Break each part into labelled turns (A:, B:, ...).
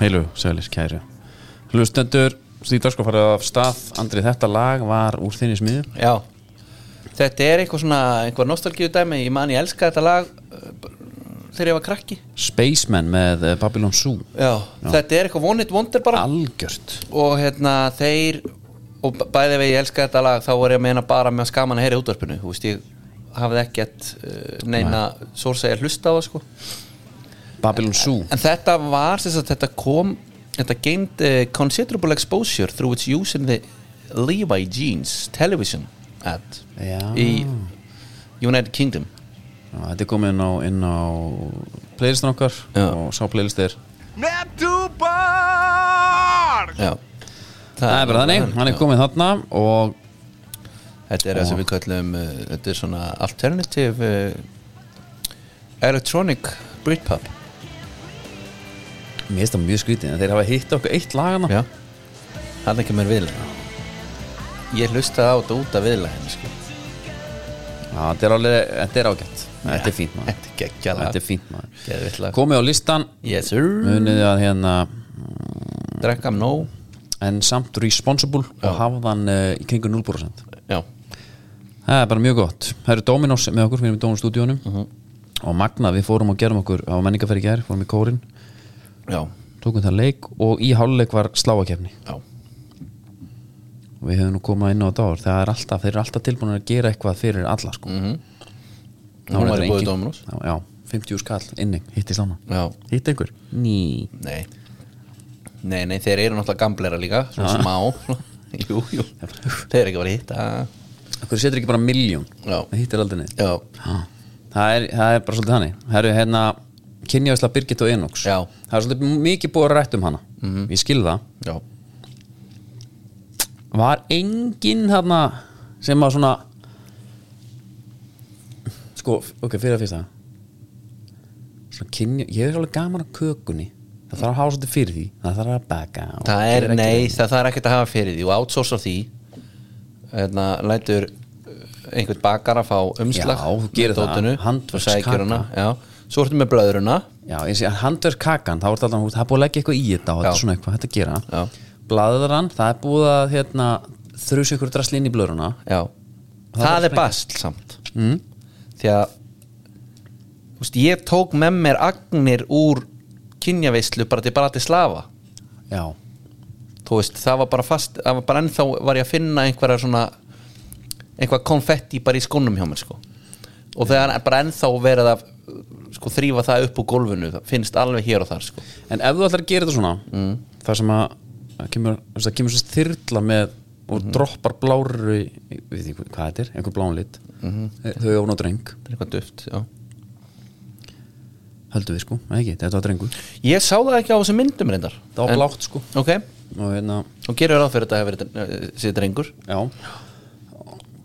A: heilu, seglis, kæru Hlustendur, Stíðarsko farið af stað Andri, þetta lag var úr þinni smiðu
B: Já Þetta er eitthvað svona, einhver nostalgíu dæmi Ég man ég elska þetta lag uh, b- Þegar ég var krakki
A: Spaceman með eh, Babylon Zoo
B: Já, þetta er eitthvað vonit vondir bara
A: Algjört
B: Og hérna þeir Og b- bæði við ég elska þetta lag Þá voru ég að meina bara með að skaman að heyra í útvarpinu Þú veist, ég hafði ekkert uh, Neina, svo segja hlusta á það sko
A: Babylon Zoo
B: En þetta var, sem sagt, þetta kom Þetta gained uh, considerable exposure Through its use in the Levi Jeans television ad
A: Já.
B: Í United Kingdom
A: Já, Þetta er komið inn á, inn á playlistin okkar
B: Já.
A: og sá playlist er
B: Já
A: Það er bara þannig, hann er komið þarna og
B: Þetta er það sem við kallum uh, Þetta er svona alternative uh, Electronic Britpop
A: mér finnst það mjög skrítið en þeir hafa hitt okkur eitt hérna. lagana
B: Já Það er ekki mér viðlega Ég hlustaði á þetta út af viðlega sko.
A: Já, þetta er alveg, þetta er ágætt Þetta er fínt maður
B: Þetta er geggjala
A: Þetta er fínt maður
B: Geðvitt lag
A: Komið á listan,
B: Yes sir
A: munið að hérna
B: Drekkam nóg
A: en samt responsible og hafa þann uh, í kringu 0%
B: Já
A: Það er bara mjög gott. Það eru Dominos með okkur, við erum í Dominos stúdíunum og Magna, við fórum og gerum okkur á menningarferð í gær, fórum í kórin,
B: Já
A: tókum það leik og í háluleik var sláakefni
B: Já
A: og við höfum nú komað inn á þetta ár það er alltaf, þeir eru alltaf tilbúin að gera eitthvað fyrir alla sko. mm -hmm.
B: Nú var ég búið Dominos
A: já, já, 50 skall inni, hitti saman
B: Já
A: hitti einhver? Ný
B: Nei Nei, nei, þeir eru náttúrulega gamblera líka Svona smá Jú, jú Þeir eru ekki að vera að hitta
A: Akkur setur ekki bara miljón,
B: Já.
A: það hittir aldrei neitt
B: Já
A: Ha, það er, það er bara svolítið þannig það eru hérna kynjavisla Birgit og Enox
B: Já. Mhm.
A: það er svolítið mikið búið að rætt um hana -hmm. ég skil það
B: Já
A: var engin þarna sem að svona sko, ok, fyrir að fyrsta svona kynja ég er alveg gaman að kökunni það þarf að hafa svolítið fyrir því, það þarf að baka og
B: Það er,
A: gera-
B: nei, það, það er ekkert að hafa fyrir því og outsourcar því hérna, lætur uh, einhvern bakar að fá umslag
A: Já, þú gerir
B: með dótinu,
A: það, handverkskaka.
B: og sækir hana, já. Svo ertu með blöðruna
A: já, ég sé, handverð kakan, þá er alltaf það er búið að leggja eitthvað í þetta og þetta
B: Já.
A: er svona eitthvað, þetta gera
B: Já.
A: blaðran, það er búið að hérna, þrjus ykkur drasli inn í blöruna
B: já. Það,
A: bara
B: er basl samt mm. Því að þú veist, ég tók með mér agnir úr kynjaveislu bara til bara til slafa
A: já,
B: þú veist, það var bara fast það var bara ennþá var ég að finna einhverja svona einhvað konfetti bara í skónum hjá mér sko og þegar er bara ennþá verið að sko þrýfa það upp úr gólfinu það finnst alveg hér og þar sko
A: en ef þú ætlar að gera þetta svona þar sem að að kemur, það kemur svo þyrla með og droppar bláru við því hvað þetta er, einhver blán lit Eh, þau eru ofn á dreng,
B: það er eitthvað duft, já
A: höldum við sko Nei, ekki, þetta var drengur, það
B: ég sá það ekki á þessum myndum reyndar
A: var
B: En-
A: blátt sko
B: ok,
A: og hérna,
B: og gerur ráð fyrir þetta að hafa verið eh, sér drengur
A: já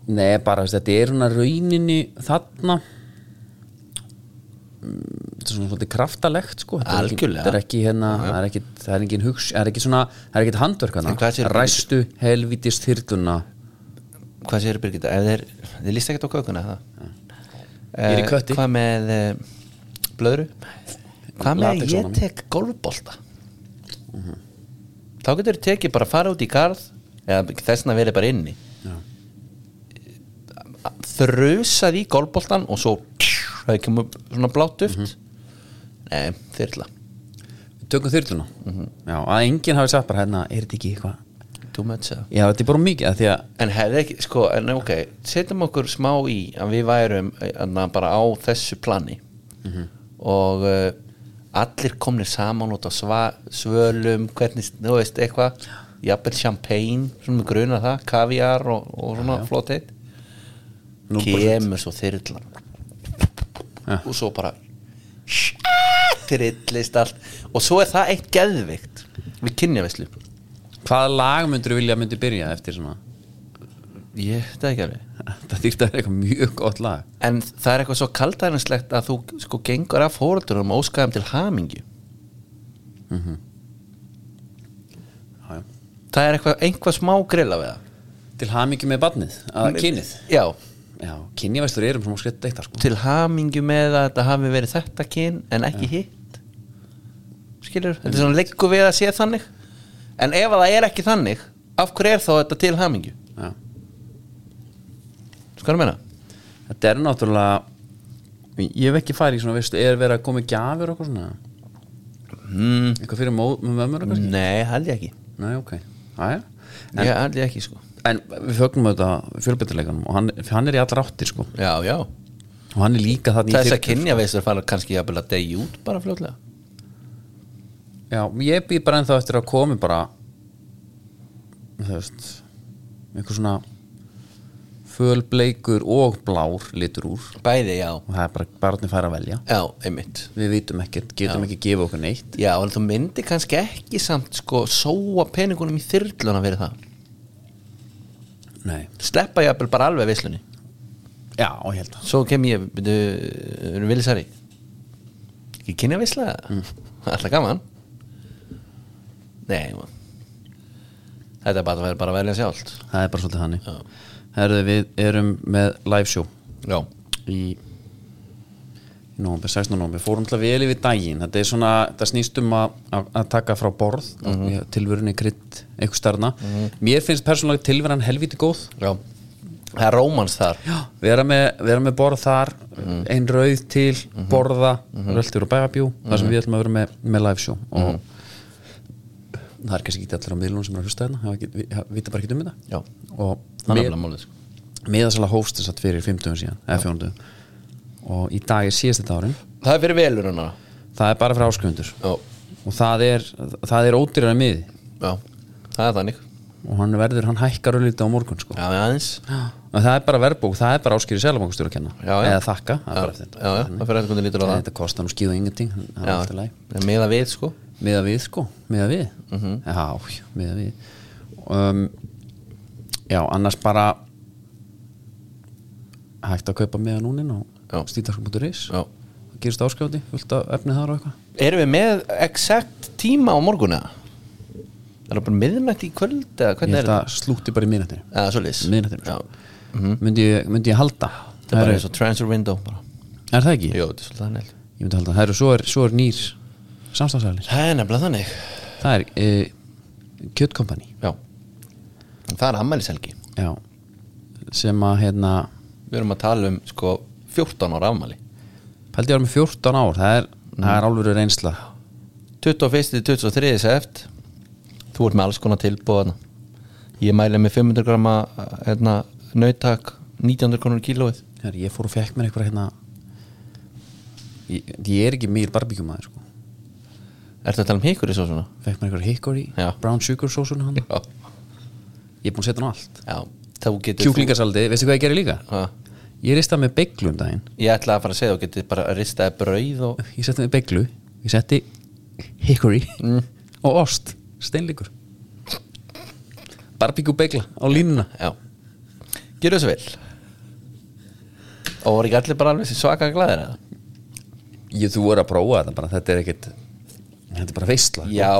A: Nei, bara veist, þetta er svona rauninni þarna Mm, þetta er svona svolítið kraftalegt sko Þetta er ekki-
B: Algjörlega.
A: þetta er ekki hérna, það er ekki það er engin hugs, það er ekki svona það er ekki
B: En hvað
A: handverkana,
B: sérðu-
A: ræstu helvítist þyrluna
B: hvað sér Birgitta, ef þeir, þeir líst ekkert á kökuna eða?
A: Ég er í
B: Eh,
A: kötti.
B: hvað með eh, blöðru hvað með
A: Latex
B: að ég
A: ofan á mig.
B: tek golfbolta þá getur tekið bara að fara út í garð eða þessna verið bara inni
A: Já.
B: þrösað í golfboltan og svo það kemur svona blátt duft
A: Mhm.
B: nei, þyrla
A: tökum þyrluna já, að enginn hafi sagt bara hérna, er þetta ekki eitthvað
B: too much eða
A: já, þetta er bara mikið, af því að
B: En hefði ekki, sko, en ok setjum okkur smá í að við værum anna, bara á þessu plani Mhm. og uh, allir komnir saman út á sva, svölum, hvernig, þú veist, eitthvað jafnvel champagne, svona með gruna það kaviar og, og svona flott eitt
A: Nú
B: kemur svo þyrlan
A: Ja.
B: og svo bara þyrlist allt og svo er það eitt geðvikt við kynjaveislu
A: hvaða lag myndur vilja myndi byrja eftir svona
B: ég, þetta er ekki alveg
A: það þýrt að vera eitthvað mjög gott lag
B: En það er eitthvað svo kaldæðinslegt að þú sko gengur af fóröldunum og óskaðum til hamingju
A: já, já.
B: Það er eitthvað, einhvað smá grilla við það
A: til hamingi með barnið, að kynið
B: Já,
A: já, kynjavæslur erum svona skreitt eittar sko.
B: til hamingju með að þetta hafi verið þetta kyn en ekki hitt skilur, þetta er svona leggur við að sé þannig en ef að það er ekki þannig af hverju er þá þetta til hamingju
A: Já.
B: sko að meina
A: Þetta er náttúrulega Ég hef ekki farið í svona, veistu, er verið að koma í gjafir og eitthvað svona
B: mm,
A: Eitthvað fyrir móð, með mömmur og eitthvað
B: nei, held ég ekki
A: Nei, ok, það er
B: ég held ég ekki sko
A: En við fögnum auðvitað fjölbyttileikanum og hann, hann er í allra áttir sko
B: já, já,
A: og hann er líka þarna í
B: þess að
A: 40,
B: kynja veistur fara kannski jafnvel að degi út bara fljótlega
A: Já, ég býð bara ennþá eftir að komi bara þú veist einhver svona fölbleikur og blár litur úr
B: bæði, já,
A: og það er bara barni fær að velja
B: já, einmitt
A: við vitum ekkert, getum ekki að gefa okkur neitt
B: já, en þú myndir kannski ekki samt sko sóa peningunum í þyrluna fyrir það
A: Nei,
B: sleppa jafnvel bara alveg veislunni
A: já, ég held
B: svo kem ég, byrju, Vilisari ekki kynja veisla mm. alltaf gaman nei man. þetta er bara að vera bara að velja sjálft
A: að það er bara svolítið þannig
B: Já.
A: Herðu, við erum með live show
B: já,
A: í í nóvember, 16. nóvember, fórum alltaf vel yfir daginn þetta er svona, það snýst um að, að að taka frá borð, mm
B: Mhm.
A: -hmm. tilvörunni krydd, eitthvað starna mér finnst persónulega tilveran helvíti góð
B: já það er rómans þar
A: vera með, vera með borð þar
B: Mhm.
A: ein rauð til, borða röldur og bæfabjú, það
B: Mhm.
A: sem við ætlum að vera með, með live show og
B: Mhm.
A: það er kannski ekki allir á miðlunum sem er að hlusta þarna hafa ekki- vi- ha- vita bara ekki um þetta
B: já,
A: og
B: það er nefnilega málið sko.
A: miðasala hófst þess að fyrir 50 síðan, eða 40 og í dag er síðast þetta árin
B: það er fyrir veluruna
A: það er bara fyrir áskrifundur
B: já,
A: og það er, það er ódýrar að miði
B: já, það er þannig
A: og hann verður, hann hækkar auðvitað á morgun sko.
B: já, við aðeins
A: og það er bara verðbók, það er bara áskýri selabankustjóra að kenna
B: Já, já.
A: eða þakka, það er
B: já,
A: bara
B: já,
A: eftir þetta
B: já, það fyrir eitthvað lítur á það
A: þetta kostar nú skýðu ingenting það er alltaf
B: já,
A: læg
B: það er meða við sko
A: miða við sko, miða við
B: Mhm.
A: já, miða við um, já, annars bara hægt að kaupa miða núnin
B: Já.
A: á stíðdagskum.is
B: já.
A: það gerist áskjáti, fullt af efni þar og eitthvað
B: Erum við með exakt tíma á morguna? Er það bara miðnætt í kvöld? eða
A: ég
B: Hvernig er
A: held
B: það?
A: að slúti bara í miðnættinu
B: Eða svoleiðis?
A: Miðnættinu,
B: Já,
A: sko. myndi, ég- myndi ég halda
B: það er bara
A: er,
B: eins og transfer window bara
A: er það ekki?
B: Jó, þetta er svolítið þannig
A: ég myndi halda, það eru, svo er, svo er nýr samstagsælir,
B: Það er nefnilega þannig
A: það er e, Kjöt Company
B: Já Það er ammælishelgi
A: já, sem að hérna
B: Við erum að tala um sko 14 ára afmæli
A: pældi ég var með 14 ár, það er, það er alvöru reynsla
B: 21. 23. seft Þú ert með alls konar tilbúðan Ég mæli með 500 grama hérna, nautak 1900 konur kílóið
A: Her, ég fór og fekk mér eitthvað hérna ég, ég er ekki mýr barbíkjumæður sko.
B: Ertu að tala um hikur í svo svona?
A: fekk mér eitthvað hickory,
B: Já.
A: brown sugar sósun hann.
B: Já,
A: ég er búinn að setja hann á allt
B: Já. Þá getur þú-
A: kjúklingasaldi, veistu hvað ég gerir líka?
B: Ha?
A: ég rista með beiglu um daginn
B: Ég ætla að fara að segja þú getið bara að ristaði brauð og
A: ég setti með beiglu, ég setti hickory
B: Mm.
A: og ost steinlíkur barbíkjú beigla á línuna
B: já, gera þessu vel og voru ekki allir bara alveg svaka glæðir að
A: ég, þú voru að prófa þetta bara, þetta er ekkit þetta er bara veistla
B: Já,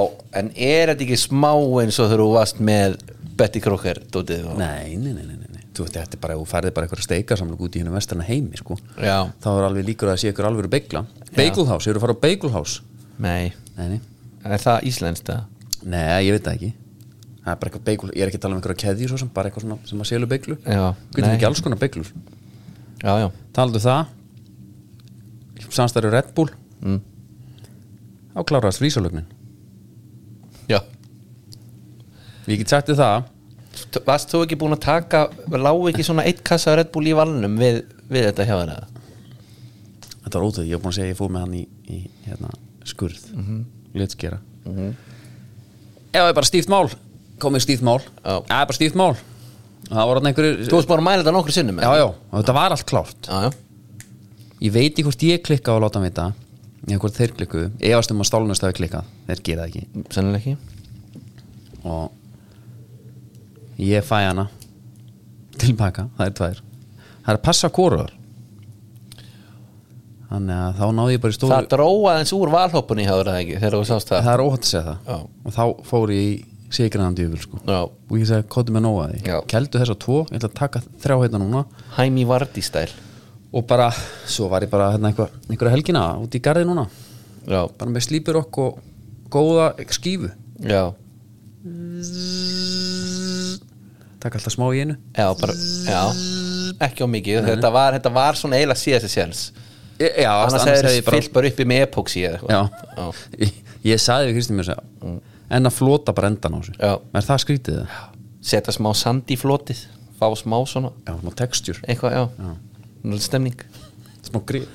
B: en er þetta ekki smá eins og þegar þú varst með Betty Crocker, dótið og...
A: nei, nei, nei, nei, nei, nei. Þú, veist, þetta er bara, þú færði bara eitthvað steikarsamlug út í hennu vestarna heimi sko.
B: Já,
A: þá er alveg líkur að það sé ykkur alveg beigla beigulhás, eru að fara á beigulhás
B: nei,
A: nei, nei.
B: er það íslenskt eða?
A: nei, ég veit það ekki það er bara eitthvað beigul, ég er ekki að tala um einhverja keðjur svo sem bara eitthvað svona sem að selur beiglu
B: Já,
A: getum
B: nei.
A: ekki alls konar beiglur
B: Já, já,
A: talandu það samstæður Red Bull
B: mm.
A: á kláraðast frísalögnin
B: já.
A: ég get sagt þér það
B: T- Varst þú ekki búin að taka lágu ekki svona eitt kassa Red Bull í valnum við, við þetta hjá þér eða?
A: þetta var ótrúð, ég var búin að segja að ég fóð með hann í, í hérna, skurð mm -hmm. letskera ef það er bara stíft mál komið stíft mál,
B: Já.
A: það er bara stíft mál það voru hann einhverju
B: Þú varst bara að mæla þetta nokkru sinnum eða?
A: já, já, og þetta var allt klárt
B: já, já,
A: ég veit ekki hvort ég klikka og láta hann vita eða hvort þeir klikku, efast um að stálunast hafi klikkað þeir gera það ekki
B: sennilega ekki
A: og ég fæ hana tilbaka, það er tvær það er að passa kóruður þannig að þá náði ég bara í stóru
B: Það dróa aðeins úr valhoppunni hjá þér eða ekki þegar þú sást það
A: það er óhætt að segja það
B: Já.
A: og þá fór ég í sigraðandi yfir sko.
B: Já,
A: og ég sagði, kóti mig nóg að því
B: Já.
A: keldu þessa tvo, ég ætla að taka þrjá hérna núna
B: Hæmi Vardí stæl
A: og bara, svo var ég bara hérna, einhver, einhverja helgina út í garði núna
B: Já,
A: bara með slípirokk og, góða skífu
B: já,
A: Takk alltaf smá í einu
B: já, bara, já ekki á mikið, þetta var, þetta var svona eiginlega síðast séns
A: E- Já,
B: annars hefur þið fyllt bara uppi með epóksi eða
A: Já,
B: sko. Já. Mm.
A: Ég, ég sagði við Kristín mér að segja En að flota bara endan á þessu
B: Já.
A: Er það skrítið það?
B: setja smá sand í flotið fá smá svona,
A: Já, smá textjur,
B: eitthvað, já, já. stemning
A: smá grip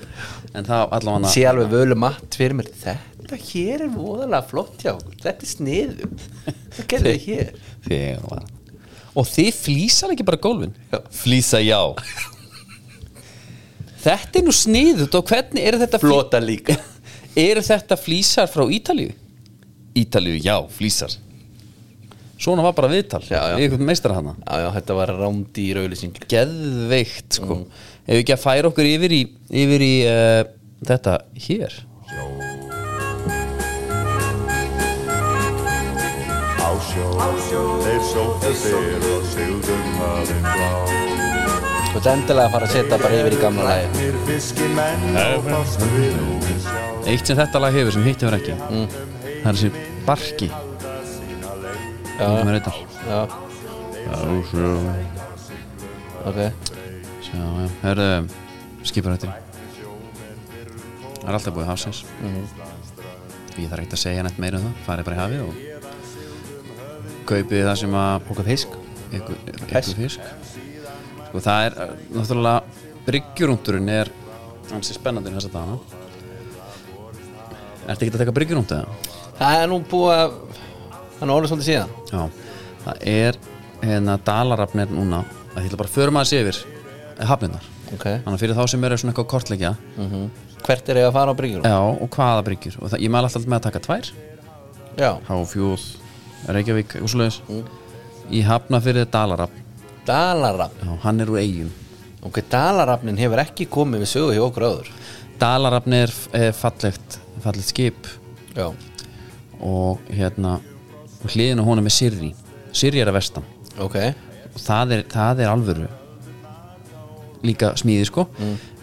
A: En það allavega
B: sé alveg völu matt fyrir mér þetta hér er voðalega flott hjá okkur þetta er sniðu það gerðu þið hér
A: Þegar
C: Og þið flýsar ekki bara gólfin
B: Já.
C: Flýsa já Þetta er nú sniðut og hvernig eru þetta flý-
B: flota líka
C: Eru þetta flýsar frá Ítalíu? Ítalíu, já, flýsar
A: Svona var bara viðtal
B: Já, já.
A: Við einhvern meistara hana
B: já, já, þetta var rándýr auðlýsing
C: Geðveikt, sko mm. Ef við ekki að færa okkur yfir í, yfir í uh, þetta hér
D: Á sjó, þeir sóttu þér og sigldum hafinn blá
B: þú ert endilega að fara að setja bara yfir í gamla lagi
D: Þeir fiski menn og fást við og við sjá
A: Eitt sem þetta lag hefur sem hitt hefur ekki
C: Mm.
A: Það er þessi barki sem er þetta
B: já, ok
A: Sjá, já, hörðu skiparhættir Það er alltaf búið hafsins Ég þarf ekkert að segja neitt meira um það Farið bara í hafið og kaupið það sem að
B: okkur fisk
A: ykkur,
B: Fisk.
A: ykkur fisk Sko það er uh, náttúrulega bryggjurúndurinn er hans er spennandi þess að dana Ertu ekki að taka bryggjurúndu það?
B: það er nú búið að það er nú alveg svolítið síðan
A: Já, það er hérna dalarafnir núna að ég ætla bara að förum aðeins yfir eh, hafnirnar
B: ok Mhm.
A: Þannig að fyrir þá sem eru svona eitthvað að kortleggja
B: hvert er ég að fara á bryggjur
A: Já, og hvaða bryggjur og það, ég mæla alltaf með að taka tvær
B: já,
A: Háfjúð, Mm. Reykjavík, Úsleis Ég hafna fyrir dalarafn
B: dalarafn
A: Já, hann er úr eigum
B: ok, dalarafnin hefur ekki komið við sögu hjá okkur áður
A: Dalarafn er, er fallegt, fallegt skip
B: já,
A: og hérna og hliðin á honum er Sirri Sirri er að vestan
B: ok
A: og það er, það er alvöru líka smíði sko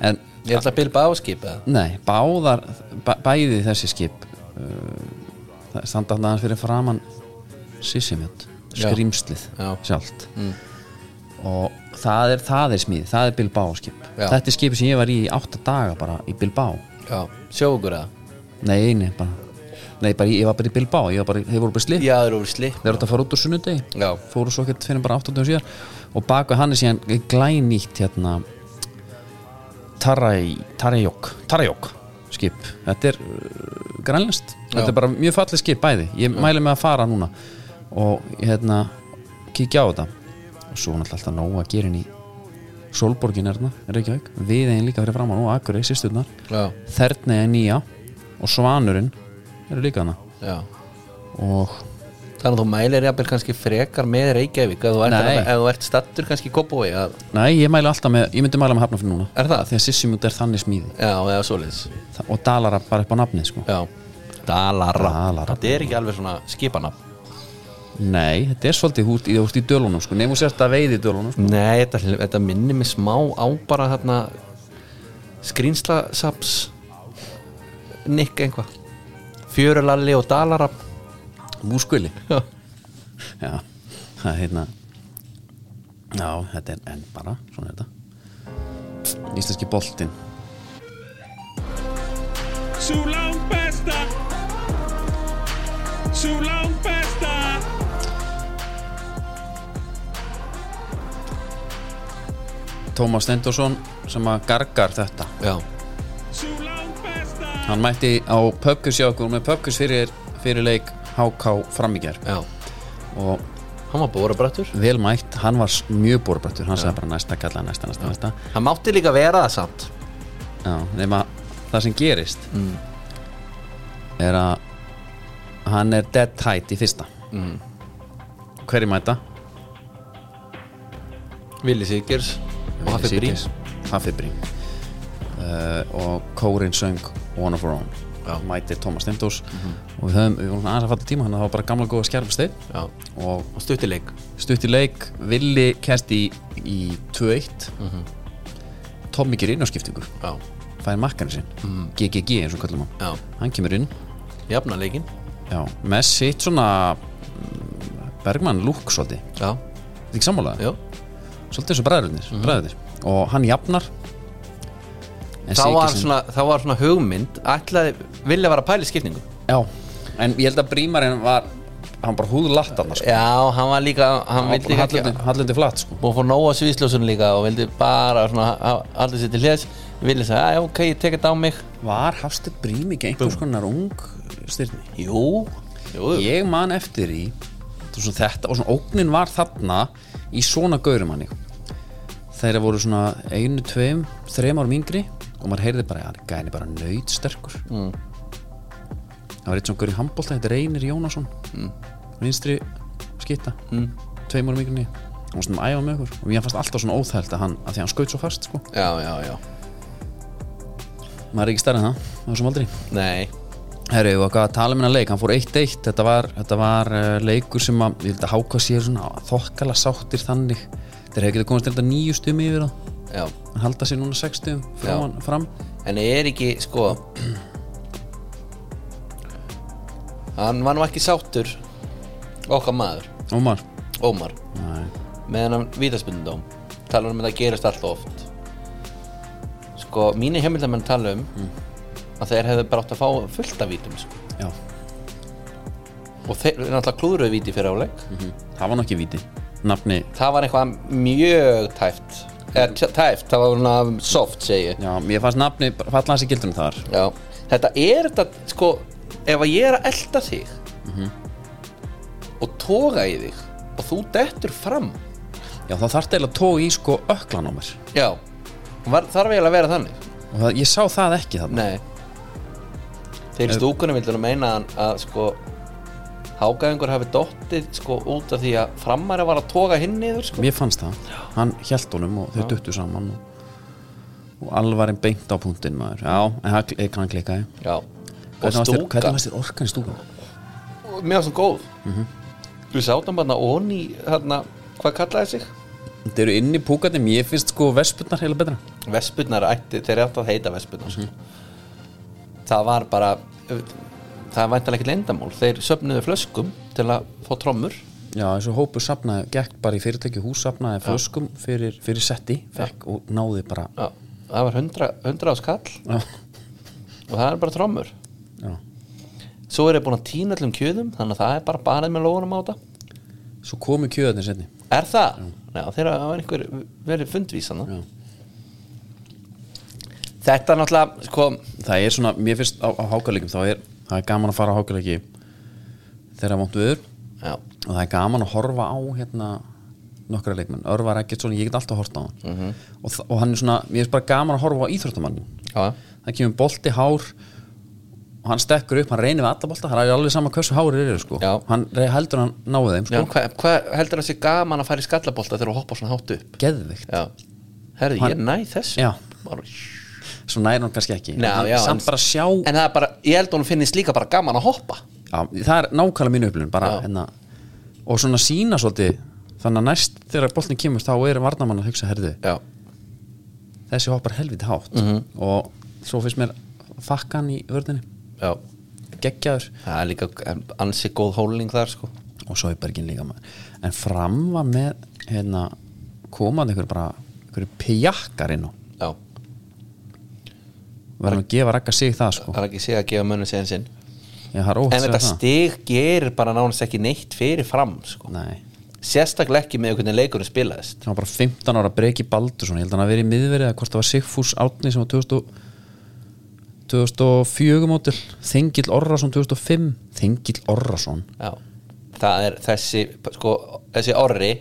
A: en
B: ég ætla að bilba áskipa
A: Nei, báðar, bæ, bæði þessi skip uh, það standa hann aðeins fyrir framann Sissimjönd,
B: Já.
A: skrýmslið
B: Já. Mm.
A: sjálft og það er, það er smíð, það er Bilbao skip
B: Já.
A: þetta er skip sem ég var í í átta daga bara í Bilbao
B: já, sjóðu okkur það
A: nei, nei, bara, nei bara, ég var bara í Bilbao ég var bara, þeir voru bara slið
B: já, það eru úr slip
A: þeir eru að fara út úr sunnudegi
B: Já.
A: fóru svo ekkert fyrir bara 80 síðar og baka hann er síðan glænýtt hérna Tarai, Tarajok Tarajok skip, þetta er uh, grænlist, þetta er bara mjög fallið skip bæði, ég mæli með að fara núna og hérna kíkja á þetta og svo er náttúrulega alltaf nóg að gera inn í Solborgin er þarna, Reykjavík, við eigin líka fyrir framann og Akurey, sýsturnar,
B: já,
A: Þernei er nýja og Svanurinn eru líka hana
B: já
A: og
B: Þannig að þú mælir jafnvel kannski frekar með Reykjavík ef þú ert,
A: Nei.
B: ef þú ert stattur kannski kópói að,
A: Nei, ég mæli alltaf með, ég myndi mæla með hafnafinn núna
B: Er það?
A: Því að Sissimund er þannig smíði
B: Já, eða svoleiðis
A: Þa- Og dalara bara upp á nafnið sko
B: Já Dalara
A: Dalarafn.
B: Þetta er ekki alveg svona skipanab
A: Nei, þetta er svolítið húrt í, húrt í dölunum sko Nefnum sérst að veiði í dölunum sko
B: Nei, þetta, þetta minnir mig smá á bara þarna skrýnslasaps Nick einhva Fjörulalli og Dalarab
A: Múskvili
B: Já,
A: Já, það er hérna Já, þetta er enn bara, svona er þetta Íslenski boltinn
E: Sú langt besta Sú langt besta
A: Tómas Stendorsson sem að gargar þetta
B: já,
E: Sú langt besta
A: Hann mætti á pöpkus hjá okkur með pöpkus fyrir, fyrir leik HK framíkjar
B: já.
A: og
B: Hann var bórabrættur
A: vel mætt, hann var s- mjög borbrættur hann sagði bara næsta kalla, næsta, næsta, næsta
B: Hann mátti líka vera það samt
A: Já, nema það sem gerist
B: Mm.
A: er að hann er dead tight í fyrsta mm. hverju mæta?
B: Vili Sigurs Og Hafi Brím
A: Hafi Brín uh, og Kórin söng One of Our Own
B: Já. Mhm.
A: mætir Thomas Stendús og við höfum, við vorum svona aðeins að fatta tíma hann það var bara gamla góða skjærfusteyp
B: Já,
A: og
B: og stuttileik
A: stutt í leik Villi kæst í, í 2-1
B: Mhm.
A: Tommy gerir inn á skiptingu
B: Já,
A: fær makkarinn sinn, GGG eins og kallum hann
B: Mhm. já,
A: hann kemur inn
B: jafna leikin
A: Já, með sitt svona mm, Bergmann lúk svolítið
B: já,
A: Þetta er ekki sammálaða?
B: já Mhm.
A: Svolítið eins og bræðurnir, mm Og hann jafnar En
B: þá
A: Siggi
B: var,
A: sem-
B: svona, þá var svona hugmynd ætlaði, vilja vera að pæla í skipningu
A: Já, en ég held að Brímarinn var Hann bara húðlatt hann sko.
B: já, hann var líka hann vildi líka ekki
A: Hallundi, hallundi flatt sko.
B: og fór nóga sviðsljósun líka og vildi bara svona, aldrei sér til hliðs vilja segja, "Æ, ok, ég tek þetta á mig
A: Var Hafsteinn Brím ekki einhvers konar ung styrni?
B: jú, jú
A: Ég man eftir í þetta var svona þetta og svona ógnin var þarna í svona gaurum hann þeirra voru svona einu, tveim þreim árum yngri og maður heyrði bara hann gæni bara nöyt sterkur mm. það var eitt svona gaur í handbólta þetta reynir Jónasson mm. vinstri skitta mm. tveim árum yngri en ég. hann var svona að æfa með okkur og mér fannst alltaf svona óþælt að hann að því að hann skaut svo fast sko
B: já, já, já,
A: maður er ekki stærri en það á þessum aldrei
B: nei
A: Herru, og hvað að tala minna leik, hann fór 1-1 þetta var, þetta var uh, leikur sem að ég held að háka sér svona þokkala sáttir þannig, þeir hefði getið komast til þetta nýju stum yfir það,
B: já.
A: en halda sér núna 6 stum fram, fram.
B: en er ekki, sko hann var nú ekki sáttur okkar maður,
A: Ómar,
B: Ómar meðan hann vítaspundum tala um að það gerist alltaf oft sko, mínir heimildamenn tala um að þeir hefðu bara átt að fá fullt af vítum sko.
A: já,
B: og þeir eru náttúrulega klúðruðu víti fyrir áleik
A: það var nokkið viti nafni,
B: það var eitthvað mjög tæft eða tj- tæft, það var svona soft segi ég
A: já, mér fannst nafni bara falla hans í gildunum þar
B: já. þetta er þetta, sko ef að ég er að elda þig
A: Mhm.
B: og toga í þig og þú dettur fram
A: já, þá þarf eiginlega að tói í sko öklan á mér
B: já, var, þarf eiginlega að vera þannig
A: og það, ég sá það ekki þarna
B: Nei Þeir í stúkunum vildur að meina að, að sko Hágæðingur hafi dottið sko út af því að framari var að toga hinn niður sko
A: mér fannst það, hann hjælt honum og þau duttu saman og, og alvarinn beint á punktinn maður já, en það kl- hann klikkaði
B: Já
A: Hvernig
B: Og
A: varst þér-
B: stúka
A: hvernig varst þér orkan í stúkan?
B: Mér var svona góð Við sátum hann að onni hérna, Hvað kallaði sig?
A: Þetta eru inn í púkarnum, ég finnst sko vespurnar heila betra
B: Vespurnar ætti, þeir eru alltaf að heita Vespurnar sko. Það var bara Það var eitthvað ekki leyndamál Þeir söfnuðu flöskum til að fá trommur
A: Já, eins og hópur safnaði, gekk bara í fyrirtæki hús safnaði flöskum fyrir, fyrir setti fekk og náði bara
B: Já, Það var hundra, hundra áskall
A: Já,
B: og það er bara trommur
A: já.
B: Svo er ég búin að týna allum kjöðum Þannig að það er bara barið með lóðunum á þetta
A: Svo komu kjöðarnir setni
B: Er það? Já, þeirra það var einhver verið fundvísana
A: Já.
B: Þetta er náttúrulega sko,
A: Það er svona, mér finnst á, á hákalegjum þá er, það er gaman að fara á hákalegi þegar það vont viður
B: já,
A: og það er gaman að horfa á hérna nokkra leikmenn, örvar ekkert svona, ég get alltaf að horta á hann og, þa- og hann er svona, mér finnst bara gaman að horfa á íþróttamannin
B: já,
A: það kemur bolti hár og hann stekkur upp, hann reynir við alla bolta það er alveg sama hversu hári eru sko
B: Já.
A: hann re- heldur hann náði þeim
B: já
A: sko
B: Hvað hva heldur það sé gaman að fara í skallabolta þegar þú hoppa svona hátt upp?
A: geðvikt,
B: Já, herði, ég
A: Hann-
B: næ þessu
A: Já.
B: Bara-
A: svo næri hann kannski ekki
B: Já,
A: En hann,
B: já,
A: samt
B: en-
A: bara sjá
B: En það er bara, ég held að hún finnist líka bara gaman að hoppa
A: já, það er nákvæmlega mínu upplifun bara,
B: Já.
A: hérna, og svona sína svolítið þannig að næst þegar boltin kemur þá er varnamann að hugsa herðu
B: Já,
A: þessi hoppar helviti hátt
B: Mhm.
A: og svo finnst mér fakkan í vörðinni
B: já
A: geggjaður
B: Það er líka en ansi góð hóling þar sko
A: og Söbergin líka maður en fram var með hérna, komandi einhver bara einhverju pjakkar inn á
B: Já,
A: verðum að gefa rakka sig það sko
B: það er ekki sig að gefa mönnum séðan sinn
A: ég har ótt
B: En
A: að
B: þetta
A: segja það
B: stig gerir bara nánast ekki neitt fyrir fram sko.
A: Nei,
B: Sérstaklega ekki með hvernig leikurinn spilaðist
A: það var bara 15 ára breki baldur svona, ég held að hann að vera í miðverið eða hvort það var Sigfús Átni sem var 2000 og- 2004 mótil Þengill Orrason 2005 Þengill Orrason
B: Já. Það er þessi sko, þessi orri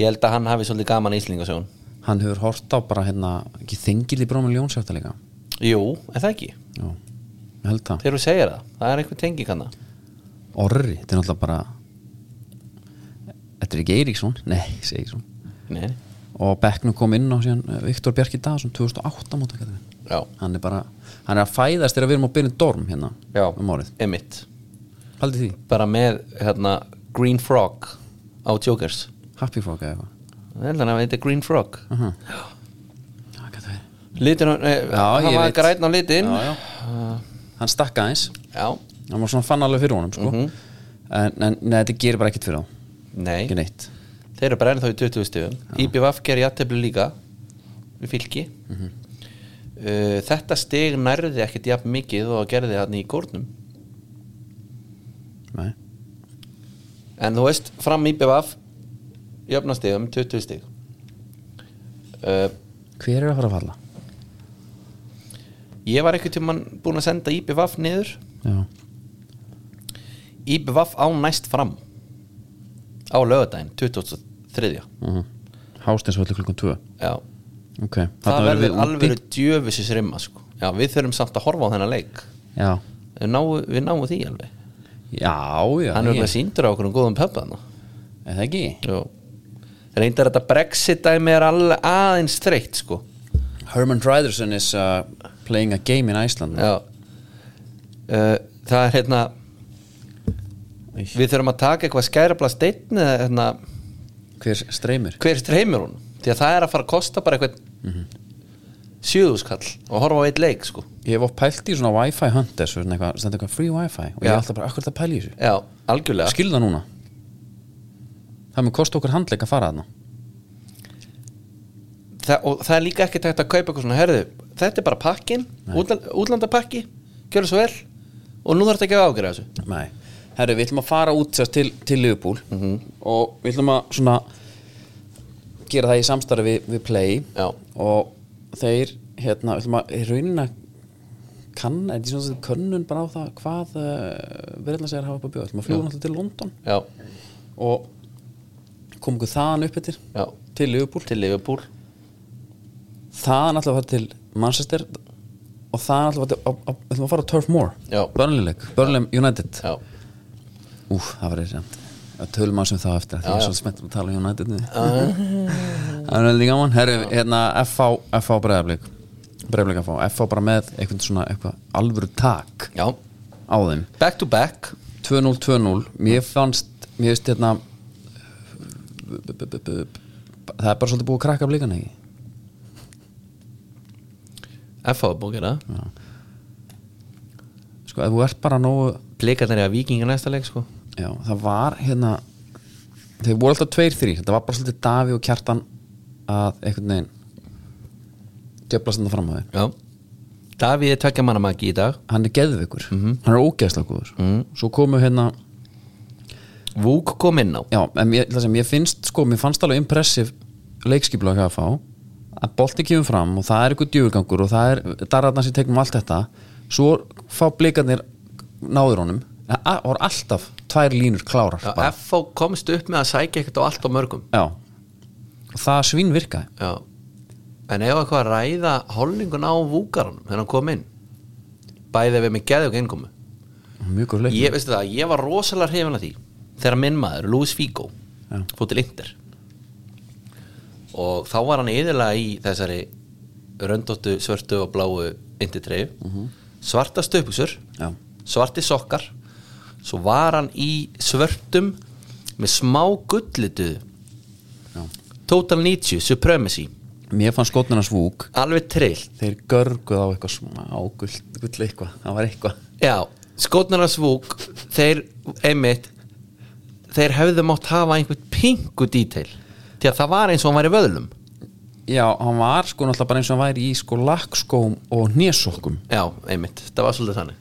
B: ég held að hann hafi svolítið gaman í Íslingasjón
A: hann hefur hort á bara hérna ekki Þengill í Brómil Jónsjáta líka
B: Jú, er það ekki?
A: já, ég held það
B: Þegar þú segir það, það er einhver tenging hann
A: Orri, þetta er náttúrulega bara Þetta er ekki Eiríksson Nei, ég segi Eiríksson
B: Nei,
A: Og Becknum kom inn á síðan eh, Viktor Bjarki Dagsson 2008 móta Katalín
B: já,
A: Hann er bara, hann er að fæðast þegar við erum á byrjun dorm hérna
B: já
A: um árið
B: Emmitt,
A: Haldið því,
B: bara með hérna, Green Frog á Jokers
A: Happy Frog eða eitthvað
B: Ég held að hann að þetta er Green Frog
A: Já, hvað það er
B: Litin, á, eh,
A: Já,
B: hann
A: ég
B: var
A: veit.
B: græn á litin
A: Já, já Hann stakka eins
B: já,
A: hann var svona fann alveg fyrir honum sko. en, en neð, þetta gerir bara ekkert fyrir hann
B: Mhm. Nei,
A: ekki neitt
B: þeir eru bara ennþá í 20 stöðum IBVF gerir játtöflu líka við fylki
A: Mhm.
B: uh, Þetta stig nærði ekkert jafn mikið og gerði hann í górnum
A: Nei.
B: En þú veist, fram IBVF jöfnastigum, 20 stig uh,
A: hver er að fara að falla?
B: Ég var eitthvað tímann búin að senda IBVF niður
A: Já.
B: IBVF á næst fram á lögadaginn 2003
A: Mm. hástinsvöldu klukkan 2
B: Já,
A: ok,
B: það
A: þarna verðum
B: verður
A: við
B: alveg
A: úti.
B: djöfisins rimma sko. Já, við þurfum samt að horfa á þennan leik
A: já,
B: Við náum, við náum því alveg
A: já, já
B: Hann er
A: ég-
B: alveg síndur á okkur um góðum pöppan
A: er það ekki?
B: Reyndar þetta Brexit dæmi er alveg aðeins þreytt sko.
A: Herman Ryderson is uh, playing a game in Iceland
B: Já uh, Það er hérna Við þurfum að taka eitthvað skærabla steinn eða hérna
A: hver streymir?
B: hver streymir hún því að það er að fara að kosta bara eitthvað mm sjöðuskall og horfa á eitt leik sko.
A: ég hef oft pælt í svona wifi hunters svona eitthvað, stendur eitthvað free wifi og ég
B: Já.
A: er alltaf bara, akkur það pæli í þessu
B: já, algjörlega
A: skilða núna það mun kosta okkur handleik að fara þarna
B: Þa, og það er líka ekkert hægt að kaupa eitthvað svona herðu, þetta er bara pakkin, útland, útlandapakki gjörðu svo vel og nú þarf þetta ekki að ágæra þessu
A: Nei, herru, við ætlum að fara út sérst til, til Liverpool
B: Mhm.
A: og við ætlum að svona gera það í samstarfi við, við Play
B: Já.
A: og þeir, hérna, við ætlum að í rauninni að kann, er því svona sem könnun bara á það hvað uh, verðla segir að hafa upp að bjóða, ætlum að fljúa náttúrulega til London
B: já,
A: og kom okkur þaðan upp eftir
B: já,
A: til Liverpool,
B: til Liverpool
A: þaðan ætlum að fara til Manchester og þaðan ætlum að, að, að, ætlum að fara á Turf Moor
B: Já.
A: Burnley-leik, Burnley United
B: já,
A: Úf, það var reynd að tölum að sem það á eftir því ég er svo smettur að tala um United nú. það er veldig gaman Herru, hérna FH, FH bregðarblik bregðarblik FH, FH bara með eitthvað svona eitthvað alvöru tak
B: já
A: á þeim
B: back to back
A: 2-0, 2-0, mér fannst mér veist hérna b- b- b- b- það er bara svolítið búið að krakka blikan ekki
B: FH er búin að gera það.
A: sko, ef þú ert bara nógu
B: blikarnir er að vikinga næsta leik sko.
A: já, það var hérna þeir voru alltaf tveir þrý þetta var bara svolítið Davi og Kjartan að einhvern veginn djöflast þetta fram á þeir
B: já Davíð er tvekja manna magi í dag
A: hann er geðveikur, hann er ógeðslega góður svo komu hérna
B: Vúk kom inn á
A: já, en mér, það sem ég finnst, sko, mér fannst alveg impressiv leikskipla að fá að bolti kemur fram og það er eitthvað djöfurgangur og það er darratna sem tegnum allt þetta svo fá blikarnir náður honum, það voru alltaf tvær línur klárar
B: Já,
A: bara.
B: FH komst upp með að sækja ekkert á allt á mörgum
A: já, og það svín virkaði
B: Já. en ef eitthvað að ræða holningun á vúkaranum þegar hann kom inn bæði við með geði og einkomu
A: mjög góð leik,
B: ég, veistu það, ég var rosalega hrifin að því þegar minn maður, Louis Figo
A: Já.
B: fór til Inder og þá var hann yðurlega í þessari röndóttu, svörtu og bláu Indertreif mm -hmm. svarta stöpuksur
A: Mhm. Já.
B: svarti sokkar svo var hann í svörtum með smá gullitu Total 90 Supremacy,
A: mér fannst skotnina svúk
B: alveg trill
A: þeir görguð á eitthvað smá gull, gull eitthvað, það var eitthvað
B: Já, skotnar að svúk þeir, einmitt þeir hefðu mátt hafa einhvern pingu dítil því að það var eins og hann var í vöðlum
A: Já, hann var sko náttúrulega bara eins og hann væri í sko lakkskóm og nésokkum
B: Já, einmitt, það var svolítið þannig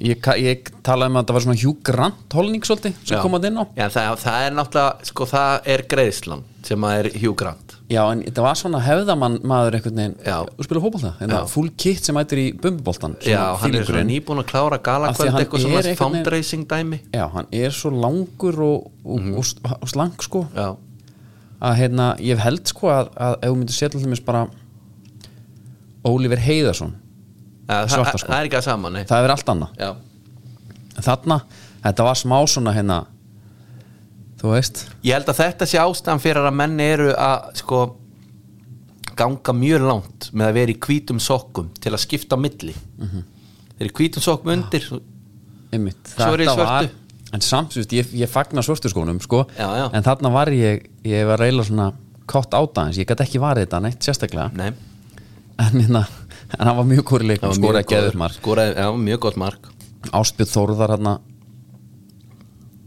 A: Ég, ka- ég talaði um að það var svona Hugh Grant holning svolítið sem
B: Já.
A: kom að inn á
B: Já, það, það er náttúrulega, sko, það er greiðslan sem að er Hugh Grant
A: Já, en þetta var svona hefðamann maður einhvern veginn
B: Já.
A: og spila hópólta, en það
B: Já.
A: full kit sem mætir í bumbuboltan
B: Já, hann er svona nýbúin að klára
A: Af því að
B: galakvöld
A: hann
B: eitthvað
A: er
B: svona
A: einhvern veginn-
B: fundraising dæmi
A: Já, hann er svo langur og, og, og, s- og, slang sko
B: Já,
A: að hérna, ég held sko að, að ef við myndum setja allmest bara Oliver Heiðarsson
B: Já, það,
A: Svarta,
B: það-
A: sko.
B: það er ekki að saman, nei
A: það er allt annað
B: Já,
A: En þarna, þetta var smá svona hérna þú veist
B: ég held að þetta sé ástæðan fyrir að menn eru að sko ganga mjög langt með að vera í hvítum sokkum til að skipta á milli þeir eru í hvítum sokkum undir
A: Einmitt,
B: Svo er ég í
A: þetta var
B: svörtu.
A: en samt, þú veist, ég, ég fagna svörtu skónum sko,
B: Já, já.
A: en þarna var ég ég var reyla svona kott áta eins ég gæti ekki varið þetta neitt sérstaklega
B: nei,
A: en, hérna, en hann var mjög kóri leikum,
B: það var
A: skoraði
B: mjög góður-
A: geður mark
B: skoraði, já, mjög gott mark
A: Ástbjörn Þórðar hann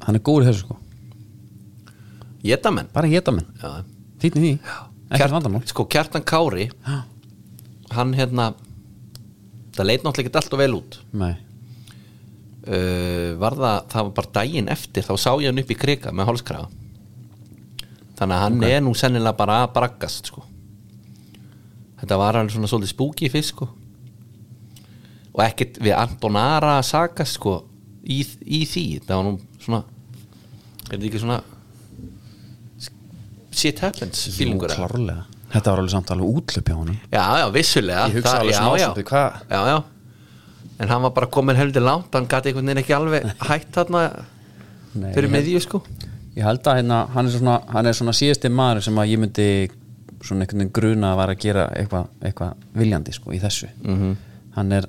A: hann er góður í þessu sko
B: Jedamenn
A: bara geta menn,
B: Já.
A: fýtni því ekkert vandamál
B: Sko Kjartan Kári
A: Já.
B: Hann hérna Það leit náttúrulega ekki alltaf vel út
A: Nei.
B: uh, var það, það var bara daginn eftir þá sá ég hann upp í krika með hálskrafa þannig að hann er nú sennilega bara að braggast sko. þetta var alveg svona svolítið spooky fyrst sko. og ekkert við Anton Ara að sakast sko, í, í því það var nú svona er þetta ekki svona shit happens fílingur eða?
A: klárlega þetta var alveg samt alveg útlöp hjá honum
B: já, já, vissulega
A: Ég hugsaði
B: Það-
A: alveg
B: já,
A: smá
B: já.
A: svolítið, hvað-
B: já, já. en hann var bara komin heldur langt hann gati einhvern veginn ekki alveg hætt þarna
A: Nei,
B: fyrir
A: ég-
B: miðju sko
A: ég held að hérna, hann, er svona, hann er svona síðasti maður sem að ég myndi svona einhvern veginn gruna að vera að gera eitthvað eitthva viljandi sko í þessu -hmm. hann er,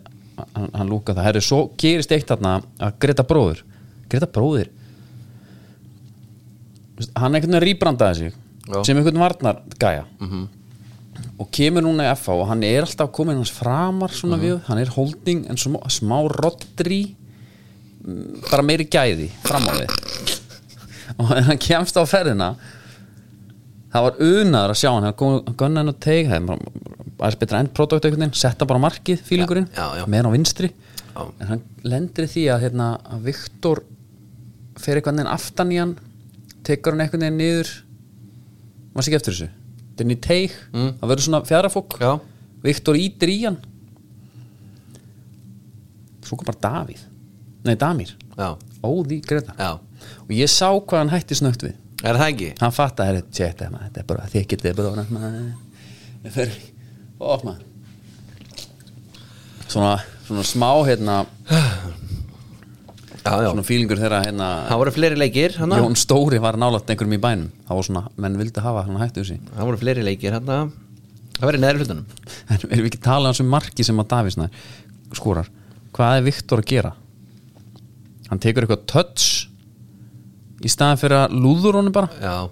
A: hann, hann lúka það herri, svo gerist eitt þarna að Greta bróður Greta bróður Vist, hann einhvern veginn rýbrandaði sig
B: Já.
A: sem einhvern varnar gæja -hmm. og kemur núna í FH og hann er alltaf komin hans framar svona við, hann er holding en smá, smá rottri bara meiri gæði fram á við og þegar hann kemst á ferðina það var unaður að sjá hann hann kom gunnan og teig það er bara- aðeins betra endprodukt einhvern veginn setta bara á markið, fílingurinn,
B: Já, já, já.
A: meðan á vinstri
B: Já.
A: en hann lendir í því að, hérna, að Viktor fer einhvern veginn aftan í hann tekur hann einhvern veginn niður maður sé ekki eftir þessu þetta er inn í teig, það verður svona fjarafók
B: Mm. Já.
A: Viktor ítir í hann svo kom bara Davíð nei Damir,
B: já,
A: óði Greta
B: já,
A: og ég sá hvað hann hætti snögt við
B: er það ekki?
A: hann fatt að þetta maður, þetta er bara þið getið bara orðan maður fyrir, of maður svona, svona smá hérna,
B: Já, já,
A: svona fílingur þeirra hérna,
B: það voru fleiri leikir hana.
A: Jón Stóri var nálægt einhverjum í bænum það var svona, menn vildi hafa hann hættu þessi
B: það voru fleiri leikir hana. það verið neðri hlutunum
A: en erum við ekki talað um sem marki sem að Davísna skórar, hvað er Viktor að gera hann tekur eitthvað touch í staðan fyrir að lúður honum bara
B: já,